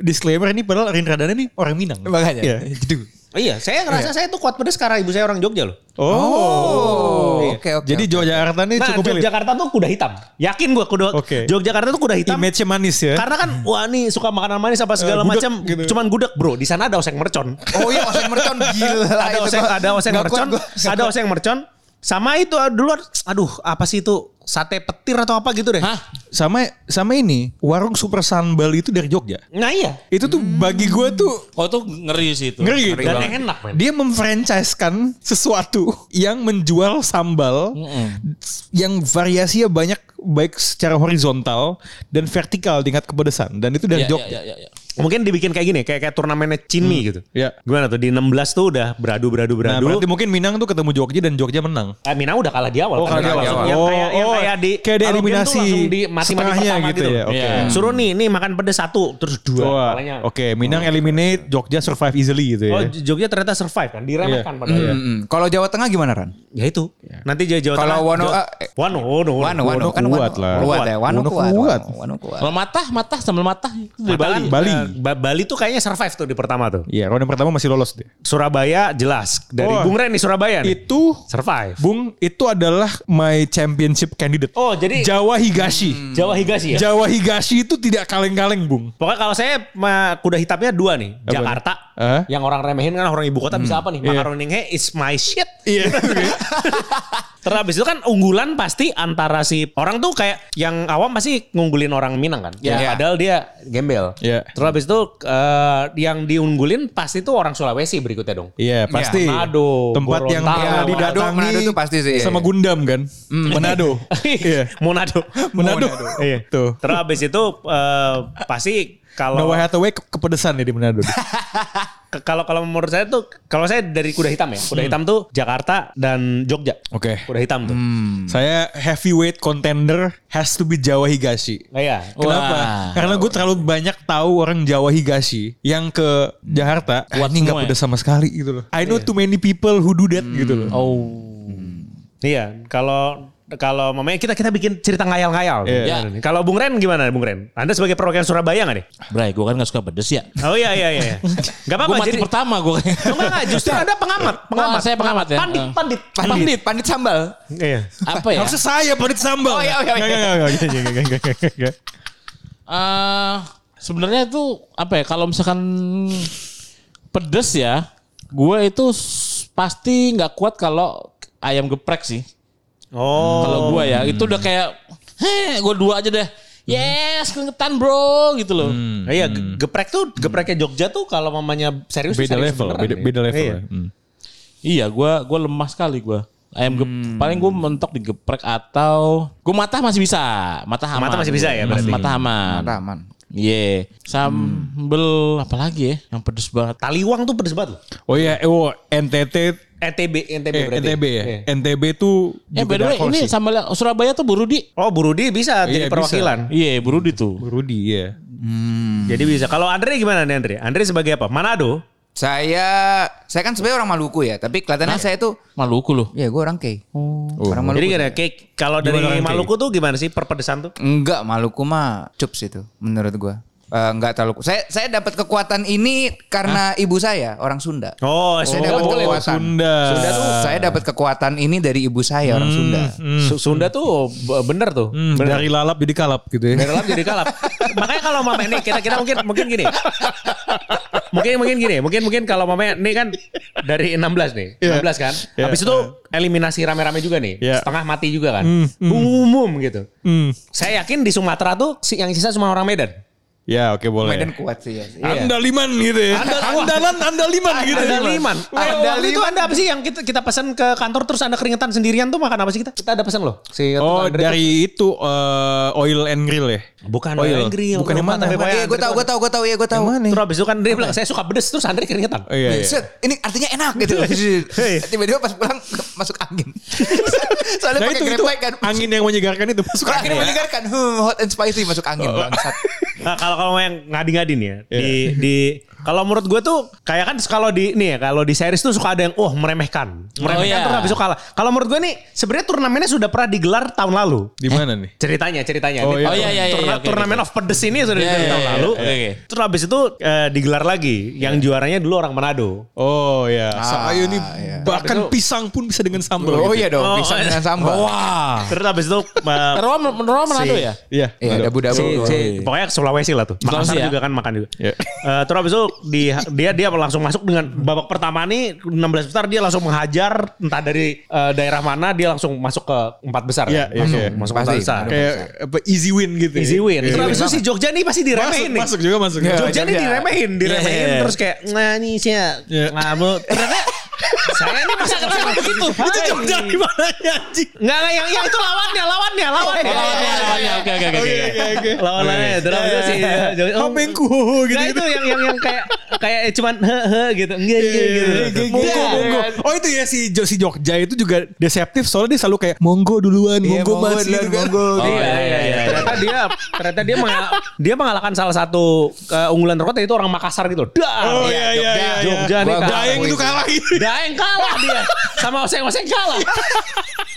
Disclaimer ini padahal Rindradana nih orang Minang.
Makanya.
Iya.
Jadi,
oh iya, saya ngerasa saya tuh kuat pedes karena ibu saya orang Jogja loh.
Oh.
Oh, oke, oke,
Jadi
oke,
Yogyakarta nih
Nah,
cukup elit.
Yogyakarta tuh kuda hitam. Yakin gua kuda.
Oke.
Yogyakarta tuh kuda hitam.
Image-nya manis ya.
Karena kan wah nih suka makanan manis apa segala
Eh, gudeg
macam.
gitu.
Cuman gudeg, Bro. Di sana ada oseng mercon.
oh iya Oseng Mercon
Eh,
gila.
ada
itu
oseng
gua-
ada oseng
nggak kuat
mercon,
gua.
ada oseng mercon. Sama itu ah, dulu aduh apa sih itu sate petir atau apa gitu deh.
Hah?
sama sama ini warung super sambal itu dari Jogja.
Nah iya.
Itu tuh bagi gue tuh
Oh itu ngeri sih itu.
ngeri gitu.
Dan
Bang.
enak men.
Dia memfranchisekan sesuatu yang menjual sambal
Hmm.
yang variasinya banyak baik secara horizontal dan vertikal tingkat kepedesan dan itu dari
Iya,
Jogja.
iya, iya, iya.
Mungkin dibikin kayak gini, kayak kayak turnamennya Chinmi gitu.
Iya.
Gimana tuh di 16 tuh udah beradu beradu
Nah,
beradu.
berarti mungkin Minang tuh ketemu Jogja dan Jogja menang.
Ah, Mina udah kalah di
Oh,
awal. kan?
kalah di
Langsung
awal.
Yang kayak, yang
Oh,
kayak di
kayak di
kalau game tuh
eliminasi
langsung di mati-mati
setengahnya
pertama
gitu ya,
loh.
oke.
Iya. Suruh nih, nih makan pedes satu, terus dua.
Wah,
Makanya-
Oke, Minang eliminate, Jogja survive easily gitu ya.
Oh, Jogja ternyata survive kan, diremehkan
Iya.
padahal.
Mm, mm. Kalau Jawa Tengah gimana Ran?
Ya itu. Nanti Jawa Jawa
Kalau
Tengah-
Wano-
Jawa-
eh,
Wano, Wano,
Wano, Wano, kan
kuat
Wano,
lah.
Kuat ya, Wano,
Wano
kuat.
kuat.
Wano, Wano kuat.
Kalau matah, matah sambal matah itu dari
Bali.
Bali.
Bali.
kan, Bali tuh kayaknya survive tuh di pertama tuh.
Iya, ronde pertama masih lolos deh.
Surabaya jelas dari
Oh.
Bung Ren nih Surabaya nih.
Itu
survive.
Bung itu adalah my championship candidate.
Oh, jadi-
Jawa Higashi.
Jawa Higashi ya.
Jawa Higashi itu tidak kaleng-kaleng, Bung.
Pokoknya kalau saya ma- kuda hitamnya dua nih.
Apa
Jakarta.
nih? Hah?
Yang orang remehin kan orang ibu kota bisa apa nih?
iya.
Makaroninge is my shit.
Iya.
Terus abis itu kan unggulan pasti antara si orang tuh kayak yang awam pasti ngunggulin orang Minang kan.
Iya.
Ya, Padahal dia gembel.
Iya.
Terus abis itu eh, yang diunggulin pasti tuh orang Sulawesi berikutnya dong.
Iya, pasti.
Iya, Manado,
Tempat yang
Gorontalo,
pernah
Manado,
didatangi
Manado tuh pasti sih, iya.
Sama Gundam kan? Manado. Iya.
Monado.
Manado. Iya. Tuh.
Terus abis itu eh, pasti kalau
Noah Hathaway ke- kepedesan ya di Manado.
ke- kalau kalau menurut saya tuh kalau saya dari kuda hitam ya. Kuda hitam tuh Jakarta dan Jogja.
Hmm. Oke. Hmm.
Kuda hitam tuh.
Hmm.
Saya heavyweight contender has to be Jawa Higashi.
Nah, iya.
Kenapa? Karena gue terlalu banyak tahu orang Jawa Higashi yang ke Jakarta. Kuat
Kuat
ini nggak
semua ya?
pedes sama sekali gitu loh. I know too many people who do that gitu loh.
Oh.
Iya, kalau kalau mamanya kita kita bikin cerita ngayal-ngayal.
Iya.
Ya.
Gimana nih? Kalau Bung Ren gimana Bung Ren? Anda sebagai perwakilan Surabaya nggak nih?
Bray, gue kan gak suka pedes ya.
Oh iya iya iya. Gak
Gue
apa-apa
mati
jadi.
pertama gue kayak.
Enggak enggak justru Anda pengamat, pengamat.
Oh, saya pengamat ya?
Pandit,
Eh.
pandit.
Pandit, pandit sambal.
Iya.
Apa ya?
Harusnya saya pedes sambal.
Oh, iya, iya, iya.
Nggak, nggak, nggak, nggak, nggak, nggak, nggak, nggak.
Eh, sebenarnya itu apa ya? Kalau misalkan pedes ya, gue itu s- pasti nggak kuat kalau ayam geprek sih.
Oh.
Kalau gue ya, itu udah kayak, heh, gue dua aja deh.
Hmm.
Yes, keringetan bro, gitu loh.
Hmm.
Nah, Iya, ge- geprek tuh gepreknya Jogja tuh kalau mamanya serius
Beda
serius
level,
beneran
beda,
ya.
beda level.
Iya.
ya. Hmm.
Iya, gue gua lemah sekali gue. Ayam gep-
Hmm.
paling gue mentok di geprek atau gue matah masih bisa, matah aman.
Matah masih bisa ya,
Mas-
berarti?
matah aman.
Mantap, aman.
Iya, sambel
Hmm.
apa lagi ya yang pedes banget.
Taliwang tuh pedes banget loh. E
Oh iya, eh, oh, NTT
ETB NTB
eh,
berarti.
NTB ya.
Iya.
NTB tuh
Eh by the way, ini sambal Surabaya tuh Burudi.
Oh, Burudi bisa
Iya,
jadi
bisa.
perwakilan.
Iya, Burudi tuh.
Rudi ya.
Jadi bisa. Kalau Andre gimana nih Andre? Andre sebagai apa? Manado?
Saya, saya kan sebenarnya orang Maluku ya, tapi kelihatannya saya tuh,
Maluku loh.
ya gue orang Kei.
Oh.
Orang
Jadi
Maluku.
gimana? Kayak kalau dari
Gimana, Andre?
Maluku tuh gimana sih perpedesan tuh?
Enggak, Maluku mah cups itu menurut gua. eh, nggak terlalu. Saya saya dapat kekuatan ini karena ibu saya orang Sunda.
Oh,
Saya
Sunda.
dapat
Oh,
kekuatan.
Sunda.
Sunda tuh saya dapat kekuatan ini dari ibu saya orang Sunda.
Su- Sunda tuh b- bener tuh.
Hmm, dari lalap jadi kalap gitu ya.
Dari lap jadi kalap.
Makanya kalau mama ini kita kita mungkin mungkin gini. mungkin mungkin gini, mungkin mungkin kalau mama ini kan dari 16 nih, 16 kan.
Iya.
Habis itu eliminasi rame-rame juga nih,
Iya.
setengah mati juga kan. Umum gitu.
Hmm.
Saya yakin di Sumatera tuh si- yang sisa cuma orang Medan.
Ya oke boleh.
Medan kuat sih ya.
Andaliman gitu ya. Andalan andaliman gitu.
Ada liman. Ada
Ada
itu
liman.
anda apa sih yang kita, kita pesan ke kantor terus anda keringetan sendirian tuh makan apa sih kita? Kita ada pesan loh. Si
Oh
tukang dari-
dari itu eh, oil and grill ya.
bukan
oil.
oil grill.
Bukan yang
rumah
mana?
tangga.
Iya, gue tahu, gue tahu, gue tahu, iya gue tahu.
Terus habis itu kan dia bilang saya suka pedes terus Andre keringetan.
Oh, iya, iya.
Set, ini artinya enak gitu. Tiba-tiba pas pulang masuk angin. Soalnya
Nah
pakai
itu, itu
grepek kan.
angin ya. yang menyegarkan itu masuk angin.
Akhirnya menyegarkan. Hmm, hot and spicy masuk angin
Oh.
bangsat.
Nah, kalau kalau mau yang ngadi-ngadin ya di
Iya.
di kalau menurut gue tuh kayak kan kalau di nih ya kalau di series tuh suka ada yang oh meremehkan meremehkan
iya.
terus habis itu kalah. Kalau menurut gue nih sebenarnya turnamennya sudah pernah digelar tahun lalu.
Di mana nih?
Ceritanya ceritanya.
Oh, iya.
Ini turn-
Oh, iya, iya, iya,
turna-
oke,
turnamen
oke.
of pedes ini
Iya,
sudah digelar
iya,
tahun
iya,
lalu.
oke, Iya. oke.
Terus habis itu eh, digelar lagi yang juaranya dulu orang Manado.
Oh ya. Sayo ini
iya.
bahkan pisang pun bisa dengan sambal.
Oh
gitu.
iya dong,
Oh,
pisang
iya.
dengan sambal.
Wah.
Terus habis itu eh,
Terus menurut Manado ya?
Iya.
Iya,
ada.
dabu-dabu.
Si-
doang.
si-
pokoknya ke Sulawesi lah tuh.
Sulawesi
Makassar
ya?
juga kan makan juga.
Iya.
Eh, terus habis itu di- dia dia langsung masuk dengan babak pertama nih 16 besar dia langsung menghajar entah dari eh, daerah mana dia langsung masuk ke empat besar.
Iya, iya,
masuk
iya.
masuk
Pasti.
empat besar.
Kayak apa easy win gitu. ya.
Easy win.
Iya.
Terus habis itu si Jogja nih pasti diremehin
Masuk,
nih.
masuk juga masuk.
Jogja nih diremehin, diremehin
Iya, iya.
terus kayak nah nih saya
Iya.
ngamuk. Ternyata saya nih masa kenapa gitu? Itu Jogja gimana ya anjing? Enggak enggak yang yang itu lawannya, lawannya, lawannya.
Oh, iya, iya, iya. Oke, oke, oke, oke.
oke.
Lawannya terus habis itu si Jogja. oh,
Hamengku gitu. gitu.
Nah
Iya,
itu yang yang yang kayak kayak cuman he he gitu. Enggak enggak gitu.
Monggo, monggo. Oh itu ya si Jo- si Jogja itu juga deseptif soalnya dia selalu kayak monggo duluan,
Iya,
monggo mas gitu
duluan,
kan.
monggo.
Oh,
iya, iya, iya. Ternyata dia ternyata dia mengal- dia mengalahkan salah satu keunggulan terkuat yaitu orang Makassar gitu. Dah.
Oh iya iya iya.
Jogja, Jogja nih
Gua-
kalah.
Daeng itu kalah gitu.
Daeng kalah dia sama Oseng-Oseng kalah.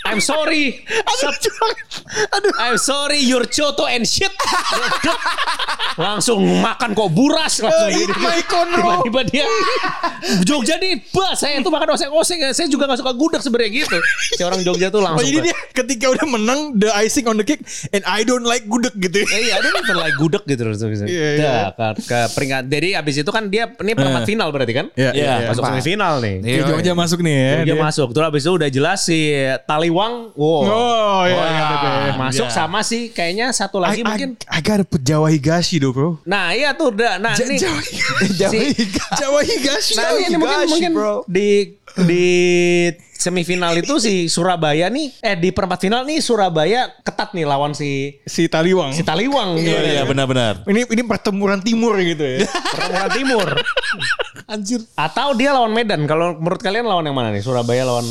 I'm sorry. Aduh. I'm sorry your Choto and shit. langsung makan kok buras langsung
Eat
gitu.
Eh, my conro.
Tiba-tiba dia Jogja nih bah saya tuh makan oseng-oseng saya juga gak suka gudeg sebenarnya gitu. Si orang Jogja tuh
Oh
langsung.
jadi
ke-
dia ketika udah menang the icing on the cake and I don't like gudeg gitu.
Eh, iya, dia even like gudeg gitu terus bisa.
Iya, iya.
Dah, ke, ke peringkat. Jadi abis itu kan dia ini perempat final berarti kan?
Iya, iya, iya.
Masuk
Empat.
semifinal nih.
Oke, Jogja masuk nih ya.
Dia
Dia-
masuk. Terus abis itu udah jelas si Taliwang. Wow.
Oh iya. iya, iya, iya.
masuk sama sih kayaknya satu
I,
lagi
I,
mungkin.
I gotta put Jawa Higashi do bro.
Nah iya tuh udah. Nah
Ja-
ini.
Jawa,
Jawa
Jawa Higashi.
Nah ini, ini mungkin, mungkin di di semifinal itu si Surabaya nih. Eh di perempat final nih Surabaya ketat nih lawan si
Si Taliwang.
si Taliwang.
Iya, iya, benar-benar.
ini ini pertempuran timur gitu ya.
Pertempuran Timur.
Anjir.
Atau dia lawan Medan. Kalau menurut kalian lawan yang mana nih? Surabaya lawan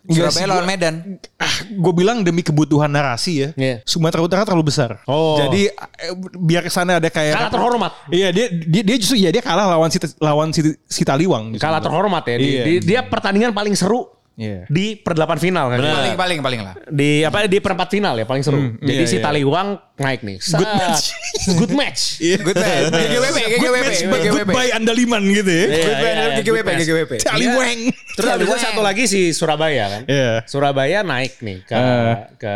Surabaya lawan Medan.
ah, gue bilang demi kebutuhan narasi ya.
Iya.
Sumatera Utara terlalu besar.
Oh.
Jadi eh, biar kesana ada kayak
kalah terhormat.
Iya dia dia, dia justru ya dia kalah lawan si lawan si, si Taliwang. justru.
Kalah terhormat ya. Di-
Iya.
di- dia pertandingan paling seru
Iya.
di perdelapan final kan.
Nah.
Paling paling paling lah.
di apa di perempat final ya paling seru.
iya,
Jadi si
iya.
Taliwang naik nih. Good match. Iya, Good match.
Good match. GGWP, GGWP,
Iya. Match but
GGWP.
goodbye Andaliman gitu ya.
Iya,
Good
iya,
match,
iya,
GGWP,
good match.
GGWP.
Taliwang.
Terus habis itu satu lagi si Surabaya kan.
Iya.
Surabaya naik nih ke ke, ke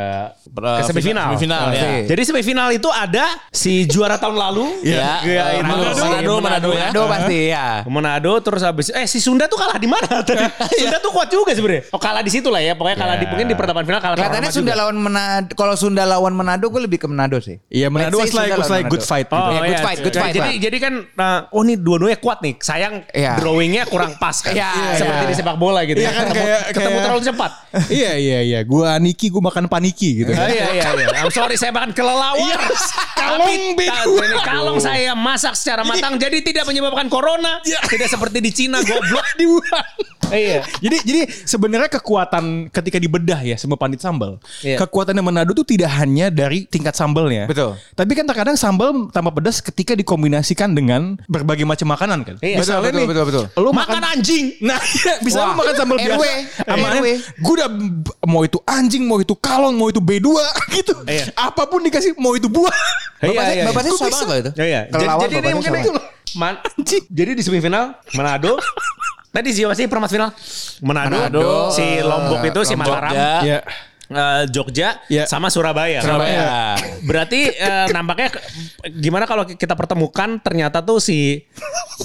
Eh,
semifinal. iya.
Semifinal ya.
Oke.
Jadi semifinal itu ada si juara tahun lalu
Ya,
Iya,
eh, Manado,
Manado,
Manado, Manado ya.
Aduh pasti ya.
Manado terus habis eh si Sunda tuh kalah di mana tadi? Sunda tuh kuat juga sebenarnya. Oh kalah di situ lah ya. Pokoknya kalah di mungkin di pertandingan final kalah
Kelihatannya
terhormat
Sunda
juga.
lawan Manado. Kalau Sunda lawan Manado, gue lebih ke Manado sih.
Iya Manado was
Let's say
like
Sunda
was
lawan
like Gitu. Ya, good
Manado.
fight.
Oh,
Iya, good
iya.
fight, good fight
Jadi,
lah.
jadi kan, uh, oh nih dua-duanya kuat nih. Sayang
Iya.
drawingnya kurang pas kan.
Iya,
Seperti
iya.
di sepak bola gitu.
Iya kan,
ketemu,
kayak-
ketemu
kayak-
terlalu cepat.
iya iya iya. Gua Niki gua makan paniki gitu.
Oh, iya iya iya. I'm sorry saya makan kelelawar.
kalong,
Tapi,
bego.
ta- ini kalong saya masak secara matang jadi tidak menyebabkan corona. Tidak seperti di Cina goblok.
Di Wuhan.
Eh, iya.
Jadi jadi sebenarnya kekuatan ketika dibedah ya semua pandit sambal. Kekuatannya Manado tuh tidak hanya dari tingkat sambalnya.
Betul.
Tapi kan terkadang sambal tambah pedas ketika dikombinasikan dengan berbagai macam makanan kan.
Iya. Betul, betul, betul, betul.
Lu makan, anjing. Nah, iya, bisa lu
Wah,
makan sambal
RW.
biasa. Sama
RW.
gue udah b- mau itu anjing, mau itu kalong, mau itu B2 gitu.
Iya.
Apapun dikasih mau itu buah.
Bapak saya,
iya,
bapak
iya.
saya
Kok
susah
bisa?
banget loh itu.
Ya, ya.
Kalau
Jadi-
lawan
jadi ini
bapaknya
mungkin
susah
itu
banget.
Man, jadi di semifinal Manado. Tadi sih masih perempat final Manado,
Manado,
si Lombok itu si
Lombok,
Mataram,
ya.
Iya.
eh, Jogja,
Ya.
sama Surabaya.
Surabaya.
Berarti eh, nampaknya ke- gimana kalau kita pertemukan ternyata tuh si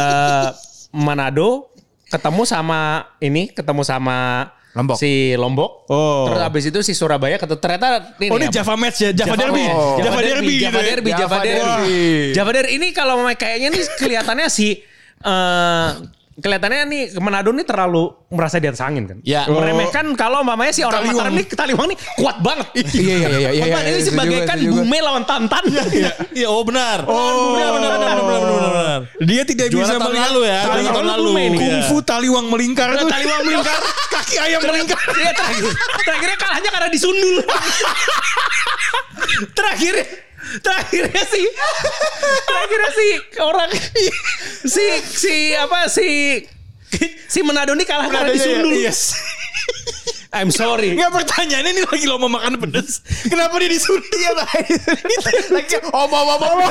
eh, Manado ketemu sama ini ketemu sama
Lombok.
si Lombok.
Oh.
Terus abis itu si Surabaya ketemu ternyata ini
Oh ini
apa?
Java match ya, Java, Derby.
Match.
Java, Derby, gitu
Java
ya.
Derby, Java
Java
Derby.
Derby.
Java Derby ini kalau memang kayaknya nih kelihatannya si eh kelihatannya nih Manado nih terlalu merasa di atas angin kan.
Ya.
Meremehkan kalau mamanya si orang
Taliwang.
Mataram nih Taliwang nih kuat banget.
Iya, iya, iya, iya,
Kuat banget.
iya,
Ini
iya,
sebagai
setuju,
kan
setuju.
Bume lawan Tantan. Iya.
Iya, oh benar.
Oh.
benar, benar, benar, benar, benar, benar.
Dia tidak
Juara
bisa
tahun
melihat
lalu ya,
Tali,
juara tahun
lalu.
lalu. Iya.
Kungfu taliwang melingkar tuh. Taliwang melingkar. Kaki ayam melingkar.
Iya, terakhir, terakhirnya kalahnya karena disundul. terakhir terakhirnya sih terakhirnya sih orang si si apa si si Manado ini kalah karena disundul.
Yes.
iya. I'm sorry.
Enggak pertanyaannya ini lagi lomba makan pedes. Kenapa dia disuruh dia Iya, Lagi
Iya. Oh,
omong-omong.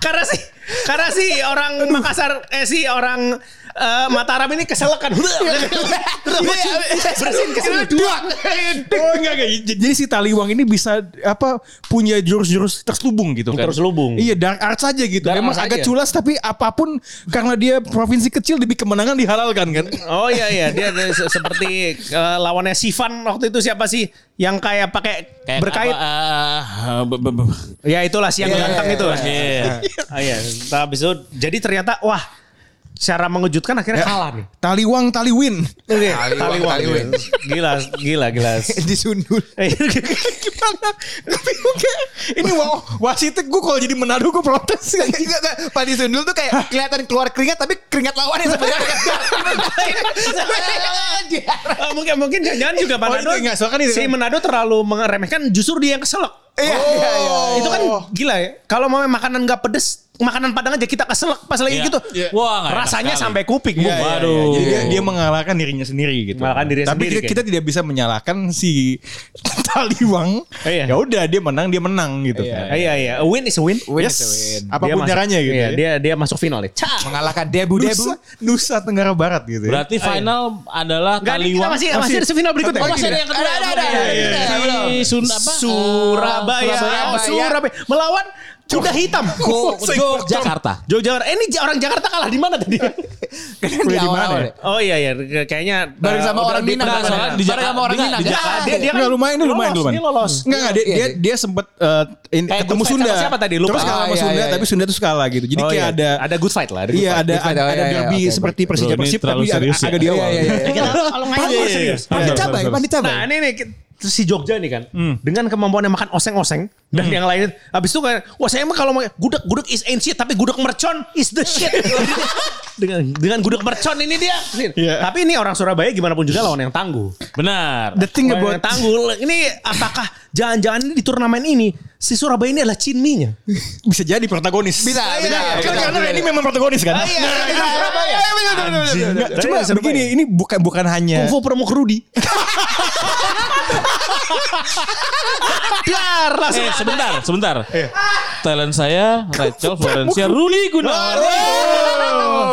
karena si karena si orang Makassar eh si orang eh, Mataram ini keselekan. Iya, Bersin kesini dua.
Oh enggak, enggak. J- Jadi si Taliwang ini bisa apa punya jurus-jurus terselubung gitu kan.
Terselubung.
Iya dark arts aja gitu.
Dark
Memang
arts
agak
aja.
culas tapi apapun karena dia provinsi kecil demi kemenangan dihalalkan kan.
Oh iya iya dia dia se- seperti eh, lawannya Sivan waktu itu siapa sih yang kayak pakai
Kayak
berkait?
apa, eh, be- be- be-
Ya itulah si yang ganteng itu.
Iya.
Ah, iya. Nah, habis itu jadi ternyata wah secara mengejutkan akhirnya kalah nih.
Taliwang Taliwin.
Oke,
Taliwang, Ya. Taliwin.
Gila, gila, gila. Eh,
Disundul. Gimana? Bingung kayak, Ini wow, wasitnya gue kalau jadi Manado gue protes.
Enggak, enggak. Pak Disundul tuh kayak kelihatan keluar keringat tapi keringat lawan yang sebenarnya.
Eh, mungkin mungkin jangan
Oh,
juga Manado.
itu enggak, soalnya kan itu
si
kan.
Manado terlalu meremehkan justru dia yang keselak. Oh.
Iya, iya, iya.
Itu kan gila ya. Kalau mau makanan nggak pedes, makanan Padang aja kita keselak pas lagi
Iya.
gitu.
Iya. Wah, nggak enak
rasanya
sekali.
sampai kuping.
Iya,
Bu.
Waduh.
Jadi dia, dia mengalahkan dirinya sendiri gitu.
Mengalahkan dirinya
Oh. Tapi
sendiri kan?
kita, kita tidak bisa menyalahkan si Taliwang.
Oh, iya.
Ya udah dia menang dia menang gitu.
Ah, Iya iya, a win is a win.
Win
Yes.
is a win.
Apapun
masuk-
caranya gitu.
iya,
ya.
Dia dia masuk final ya. Cak.
Mengalahkan Debu Debu.
Nusa, Nusa Tenggara Barat gitu. ya.
Berarti final adalah
Enggak, Iya. ini kita
Kaliwang.
masih masih ada final berikutnya.
Oh, masih ada yang kedua.
Ada, ada, ada.
Iya, iya,
Ada,
iya. Si Sun apa?
Surabaya, Surabaya, Surabaya. melawan Kuda Hitam.
Go- Go- Jakarta.
Jogja. Eh, ini orang Jakarta kalah di mana tadi?
Kan
Udah
di
di mana
awal.
ya?
Oh iya iya, kayaknya eh,
Bareng sama orang Minang.
Nah, soalnya
kan?
di
Bareng
Jakarta-
sama orang
enggak,
Minang.
di
kan?
Jakarta- dia- dia
Enggak
kan
lumayan dia lumayan
lolos,
lumayan.
dia lolos.
Enggak enggak dia
Iya,
dia, dia sempet eh, in-
Kayak
ketemu
good fight
Sunda.
sama siapa tadi? Lupa.
Terus kalah
Oh,
sama
iya,
Sunda
iya,
tapi
iya.
Sunda tuh kalah gitu. Jadi
Oh,
kayak
iya.
ada
ada good fight lah. Ada
Iya ada ada,
fight, oh, iya, iya,
derby
oke, oke.
seperti Persija
Bro, ini
Persib
terlalu
tapi agak,
serius ya?
agak di awal.
Iya, iya, iya.
Kita kalau ngomong
Iya, iya, iya.
serius.
Iya,
Pandit
iya,
Cabai,
iya,
Pandit Cabai.
Nah ini nih terus si Jogja nih kan
Hmm.
dengan kemampuannya makan oseng-oseng dan yang lain habis itu kayak wah saya mah kalau mau gudeg gudeg is ancient tapi gudeg mercon is the shit dengan dengan gudeg mercon ini dia
Iya.
tapi ini orang Surabaya gimana pun juga lawan yang tangguh
Benar.
The thing
Lawan
about
yang tangguh ini apakah jangan-jangan ini di turnamen ini si Surabaya ini adalah cinminya
bisa jadi protagonis.
Bisa, bisa,
Kan
bisa,
karena
bisa.
ini memang protagonis kan.
iya,
Nah,
iya,
ini
iya,
Surabaya. Enggak,
Iya,
cuma
iya, Surabaya.
begini ini bukan bukan hanya
Kungfu Permuk Rudi Dar langsung
Eh sebentar, sebentar.
Iya.
Talent saya Rachel Florencia Ruli Gunawan.
iya,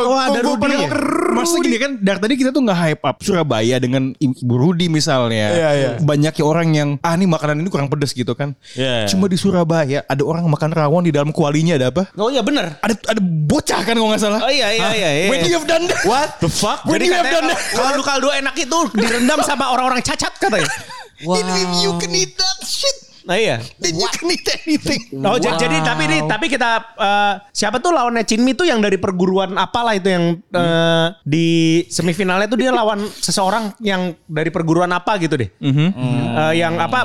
Oh, ada
Kungfu
Rudy ya?
Permuk
Maksudnya gini kan dari tadi kita tuh nggak hype up Surabaya dengan Ibu Rudi misalnya. Banyak ya orang yang ah ini makanan ini kurang pedes gitu kan.
Iya.
Cuma di Surabaya ada orang makan rawon di dalam kualinya ada apa?
Oh iya bener
Ada ada bocah kan kalau nggak salah.
Oh iya iya
Hah?
iya, iya.
When you have done that.
What the fuck?
When
Jadi
you have done
katanya
that.
kaldu kaldu enak itu direndam sama orang-orang cacat katanya.
Wow.
If you can eat that shit.
Nah iya.
Then you can eat anything.
Oh jadi, jadi tapi ini tapi kita eh, siapa tuh lawannya Cinmi tuh yang dari perguruan apalah itu yang eh, di semifinalnya tuh dia lawan seseorang yang dari perguruan apa gitu deh.
Mhm.
Eh, yang apa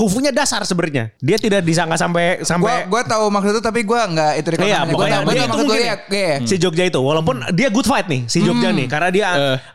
kufunya dasar sebenarnya. Dia tidak disangka sampai
Gue
sampai
gua tahu maksud itu tapi gue nggak itu rekomendasi.
Iya,
Gua
pokoknya
tahu, gua
dia
tahu
itu
maksud gua,
mungkin
Hmm.
ya.
iya, iya.
si Jogja itu walaupun dia good fight nih si Jogja nih karena dia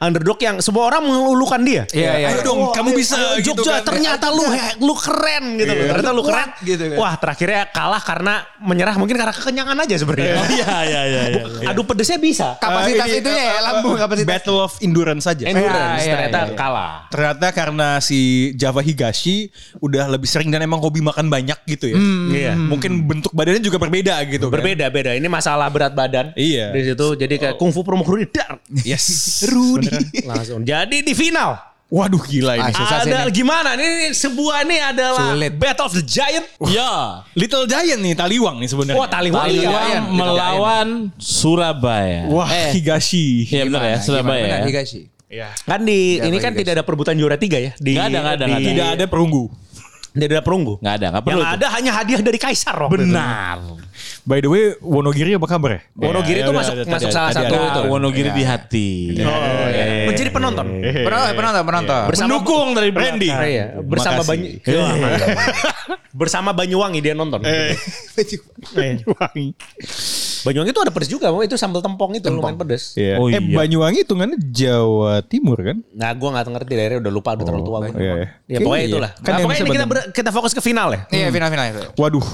underdog yang semua orang melulukan dia.
Eh. Iya, iya.
Ayo dong, kamu bisa
Ayo,
gitu
Jogja
kan.
ternyata lu he- lu keren gitu loh. Ternyata lu keren
Iya. Kuat gitu kan.
Wah, terakhirnya kalah karena menyerah mungkin karena kekenyangan aja sebenarnya.
Iya, iya, iya. iya.
Aduh pedesnya bisa.
Kapasitas
Eh, ini,
itunya ya,
eh, eh,
lambung kapasitas.
Battle of endurance saja.
Endurance
Iya, iya,
ternyata
iya.
kalah.
Ternyata karena si Java Higashi udah lebih sering dan emang hobi makan banyak gitu ya.
Iya.
Mungkin bentuk badannya juga berbeda gitu. kan.
Berbeda-beda. Ini masalah berat badan.
Iya.
Di situ jadi kayak kungfu promo Rudy.
kan.
dar.
Yes.
Rudy. Langsung. Jadi di final
Waduh gila ini.
Ah, susah sih
ada
ini.
gimana? Ini, ini sebuah ini adalah
Sulit.
Battle of the Giant.
Ya.
Nah,
Little Giant nih Taliwang nih
Nah,
sebenarnya.
Wah, Iya. Taliwang.
Taliwang melawan Surabaya.
Wah,
Eh.
Higashi.
Iya benar ya,
Gimana,
Surabaya.
gimana,
ya.
Higashi?
Kan di
Siapa
ini kan
ini, guys?
tidak ada perebutan juara tiga ya di
Nggak ada, nggak ada,
di-
nggak ada.
Tidak ada perunggu.
tidak ada perunggu.
Nggak ada, nggak perlu.
Yang
tuh.
ada hanya hadiah dari Kaisar waktu itu.
benar.
By the way, Wonogiri apa kabar ya?
Wonogiri
Ya,
itu
udah,
masuk
udah,
masuk
tadi-
salah
tadi
satu
ada
itu.
Wonogiri
Iya.
di hati.
Menjadi penonton.
Penonton, penonton, penonton.
Mendukung dari
Randy.
belakang.
Iya, bersama
Makasih.
Banyu bersama Banyuwangi dia nonton.
Banyuwangi.
Banyuwangi itu ada pedes juga, Bang. itu sambal tempong itu lumayan pedes.
Iya.
Oh,
eh
iya.
Banyuwangi hitungannya Jawa Timur kan?
Nah, gua nggak ngerti daerah udah lupa udah terlalu tua. gua.
Iya, iya.
Ya pokoknya
Iya.
itulah.
Kan
Nah,
yang
pokoknya
bisa
ini kita
bantu.
ber- kita fokus ke final ya.
Iya, final-final.
Waduh,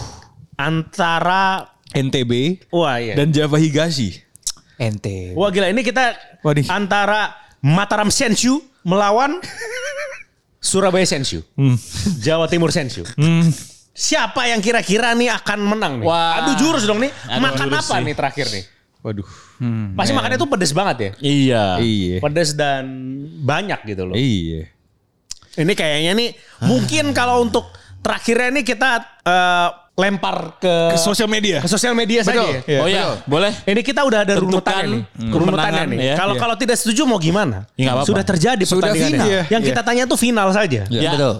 Antara
NTB
wah iya.
dan Java Higashi.
Ente.
Wah gila ini kita
Wadih.
antara Mataram Senshu melawan Surabaya Senshu.
Hmm.
Jawa Timur Senshu. Siapa yang kira-kira nih akan menang nih?
Wah.
Aduh jurus dong nih.
Aduh,
Makan
jurus
apa
sih. Hmm.
nih terakhir nih?
Waduh.
Pasti makannya tuh pedes banget ya.
Iya.
Hmm. Iya.
Pedes dan banyak gitu loh.
Iya.
Ini kayaknya nih
Ah.
mungkin kalau untuk terakhirnya nih kita eh, lempar ke
Ke sosial media.
ke sosial media saja
Betul.
ya.
Iya.
Oh ya, boleh.
Ini kita udah ada
Tentukan
runutannya nih.
hmm.
Runutannya
kemenangan,
nih.
ya.
Kalau
Iya.
kalau tidak setuju mau gimana?
Ya, nggak apa-apa.
Sudah terjadi
Sudah
pertandingannya.
final.
Yang
Iya.
kita tanya tuh final saja.
Iya.
Betul.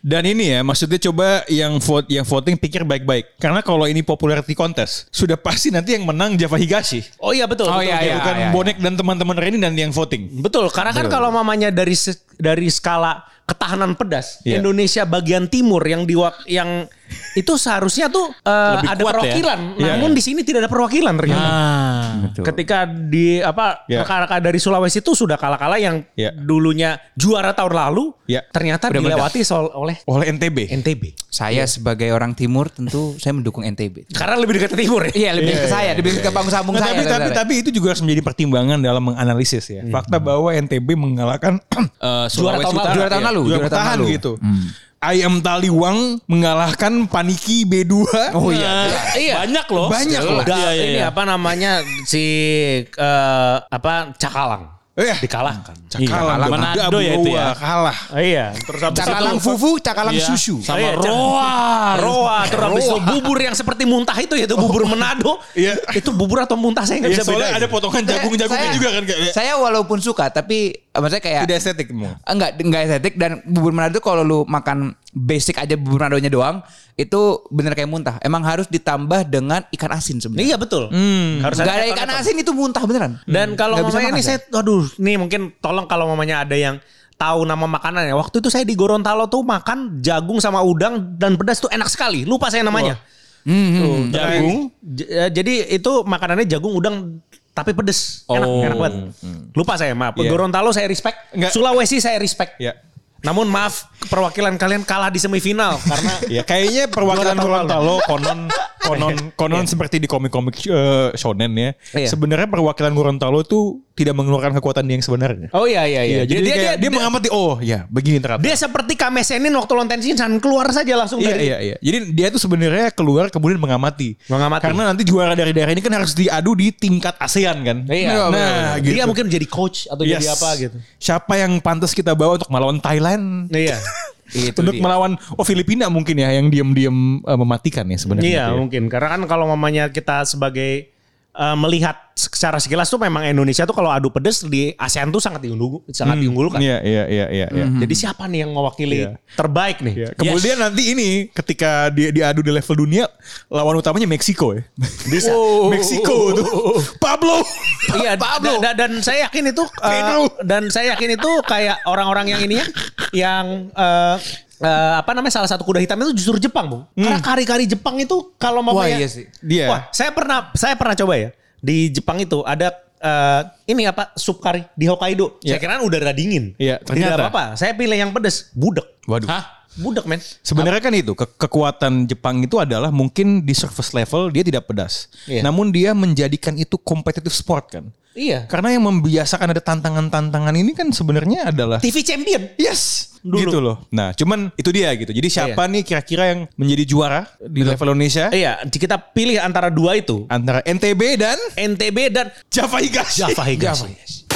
Dan ini ya, maksudnya coba yang vote, yang voting pikir baik-baik. Karena kalau ini popularity contest, sudah pasti nanti yang menang Java Higashi.
Oh iya betul.
Oh
betul.
iya, iya,
Bukan
iya.
bonek dan teman-teman Reni dan yang voting.
Betul, karena kan kalau mamanya dari se- dari skala ketahanan pedas
Iya.
Indonesia bagian timur yang di yang itu seharusnya tuh eh,
Lebih kuat ya.
ada perwakilan.
Iya.
Namun di sini tidak ada perwakilan
Nah,
ternyata.
Ah.
Ketika di apa
Iya.
rekan-rekan dari Sulawesi itu sudah kalah-kalah yang
Iya.
dulunya juara tahun lalu
Iya.
ternyata dilewati soal- oleh
Oleh NTB.
NTB.
Saya sebagai orang timur tentu saya mendukung NTB.
Karena lebih dekat ke timur ya.
Iya, lebih ke saya, lebih ke panggung sambung
Nah, tapi,
saya.
tapi, tapi itu juga harus menjadi pertimbangan dalam menganalisis ya.
Hmm.
Fakta bahwa NTB mengalahkan eh, Sulawesi
tahun lalu.
Utara,
Juara tahun
ya.
lalu,
Juara
juara tahun
bertahan
lalu. Hmm.
gitu. IM Taliwang mengalahkan Paniki B2.
Oh iya.
Iya.
Banyak loh.
Banyak loh.
Udah
Iya, iya,
ini
iya.
apa namanya si eh, apa Cakalang
Eh,
dikalahkan.
Cakalang.
Iya,
dong.
Manado ya itu ya.
Dabawa, Kalah.
Iya, terus habis
Cakalang fufu, cakalang
Iya.
susu.
Sama
Iya,
Roa.
Roa, terus habis itu bubur yang seperti muntah itu ya, itu bubur Manado.
Iya.
Itu bubur atau muntah saya
Iya,
nggak bisa
soalnya
bedain.
ada potongan jagung-jagungnya
Saya-
juga kan. kayak- Hmm.
Saya walaupun suka tapi eh, maksudnya kayak
Tidak estetik. Mo.
enggak enggak Eh, estetik dan bubur Manado kalau lu makan basic aja bubur Manadonya doang itu bener kayak muntah. Emang harus ditambah dengan ikan asin sebenarnya.
Iya betul. Harus Hmm.
Enggak ada ikan
keton-keton.
asin itu muntah beneran. Hmm.
Dan kalau
Nggak bisa
mamanya
makan
ini saya, aduh, nih mungkin tolong kalau mamanya ada yang tahu nama makanan ya. Waktu itu saya di Gorontalo tuh makan jagung sama udang dan pedas tuh enak sekali. Lupa saya namanya.
Hmm,
Jagung.
J- eh, jadi itu makanannya jagung udang tapi pedes. Enak,
Oh.
enak banget. Lupa saya, maaf. Gorontalo saya respect,
Hmm. Iya. Nggak.
Sulawesi saya respect.
Ya.
Namun maaf perwakilan kalian kalah di semifinal karena
Ya kayaknya perwakilan
Juara tahun
Gorontalo konon konon konon seperti di komik-komik eh, shonen ya.
Iya.
Sebenarnya perwakilan Gorontalo itu tidak mengeluarkan kekuatan yang sebenarnya.
Oh iya iya iya.
Iya, jadi dia, dia, mengamati oh ya begini ternyata.
dia seperti kamesenin waktu lonten Shinchan keluar saja langsung
Iya
dari
iya iya. Jadi dia tuh sebenarnya keluar kemudian mengamati.
Mengamati.
Karena nanti juara dari daerah ini kan harus diadu di tingkat ASEAN kan.
Iya,
Nah,
benar.
gitu.
Dia mungkin jadi coach atau
Yes.
jadi apa gitu.
Siapa yang pantas kita bawa untuk melawan Thailand?
Iya.
Itu
untuk
dia.
melawan oh Filipina mungkin ya yang diam-diam eh, mematikan ya sebenarnya.
iya,
gitu ya.
mungkin karena kan kalau mamanya kita sebagai eh eh, melihat secara sekilas tuh memang Indonesia tuh kalau adu pedes di ASEAN tuh sangat diunggul, sangat diunggulkan.
Iya, iya, iya, iya. iya.
Ya. Jadi siapa nih yang mewakili terbaik nih?
Iya. Kemudian nanti ini ketika dia diadu di level dunia lawan utamanya Meksiko ya.
Bisa.
Meksiko tuh. Pablo.
Iya, da- da- dan saya yakin itu eh,
Pedro.
dan saya yakin itu kayak orang-orang yang ini ya yang eh, eh, apa namanya salah satu kuda hitam itu justru Jepang, Bung.
Hmm.
Karena kari-kari Jepang itu kalau mau
Wah,
kayak-
iya sih.
Dia.
Wah, saya pernah saya pernah coba ya. Di Jepang itu ada eh, ini apa sup kari di Hokkaido.
Iya.
Saya kira udara dingin.
Iya,
Tidak
ternyata.
apa-apa. Saya pilih yang pedes, budek.
Waduh.
Hah?
Budek, men.
Sebenarnya kan itu ke- kekuatan Jepang itu adalah mungkin di surface level dia tidak pedas.
Iya.
Namun dia menjadikan itu competitive sport kan.
Iya.
Karena yang membiasakan ada tantangan-tantangan ini kan sebenarnya adalah
TV champion.
Yes, gitu loh. Nah, cuman itu dia gitu. Jadi siapa nih kira-kira yang menjadi juara di level Indonesia
Iya, kita pilih antara dua itu.
antara NTB dan
NTB dan
Java Higashi?
Java Higashi.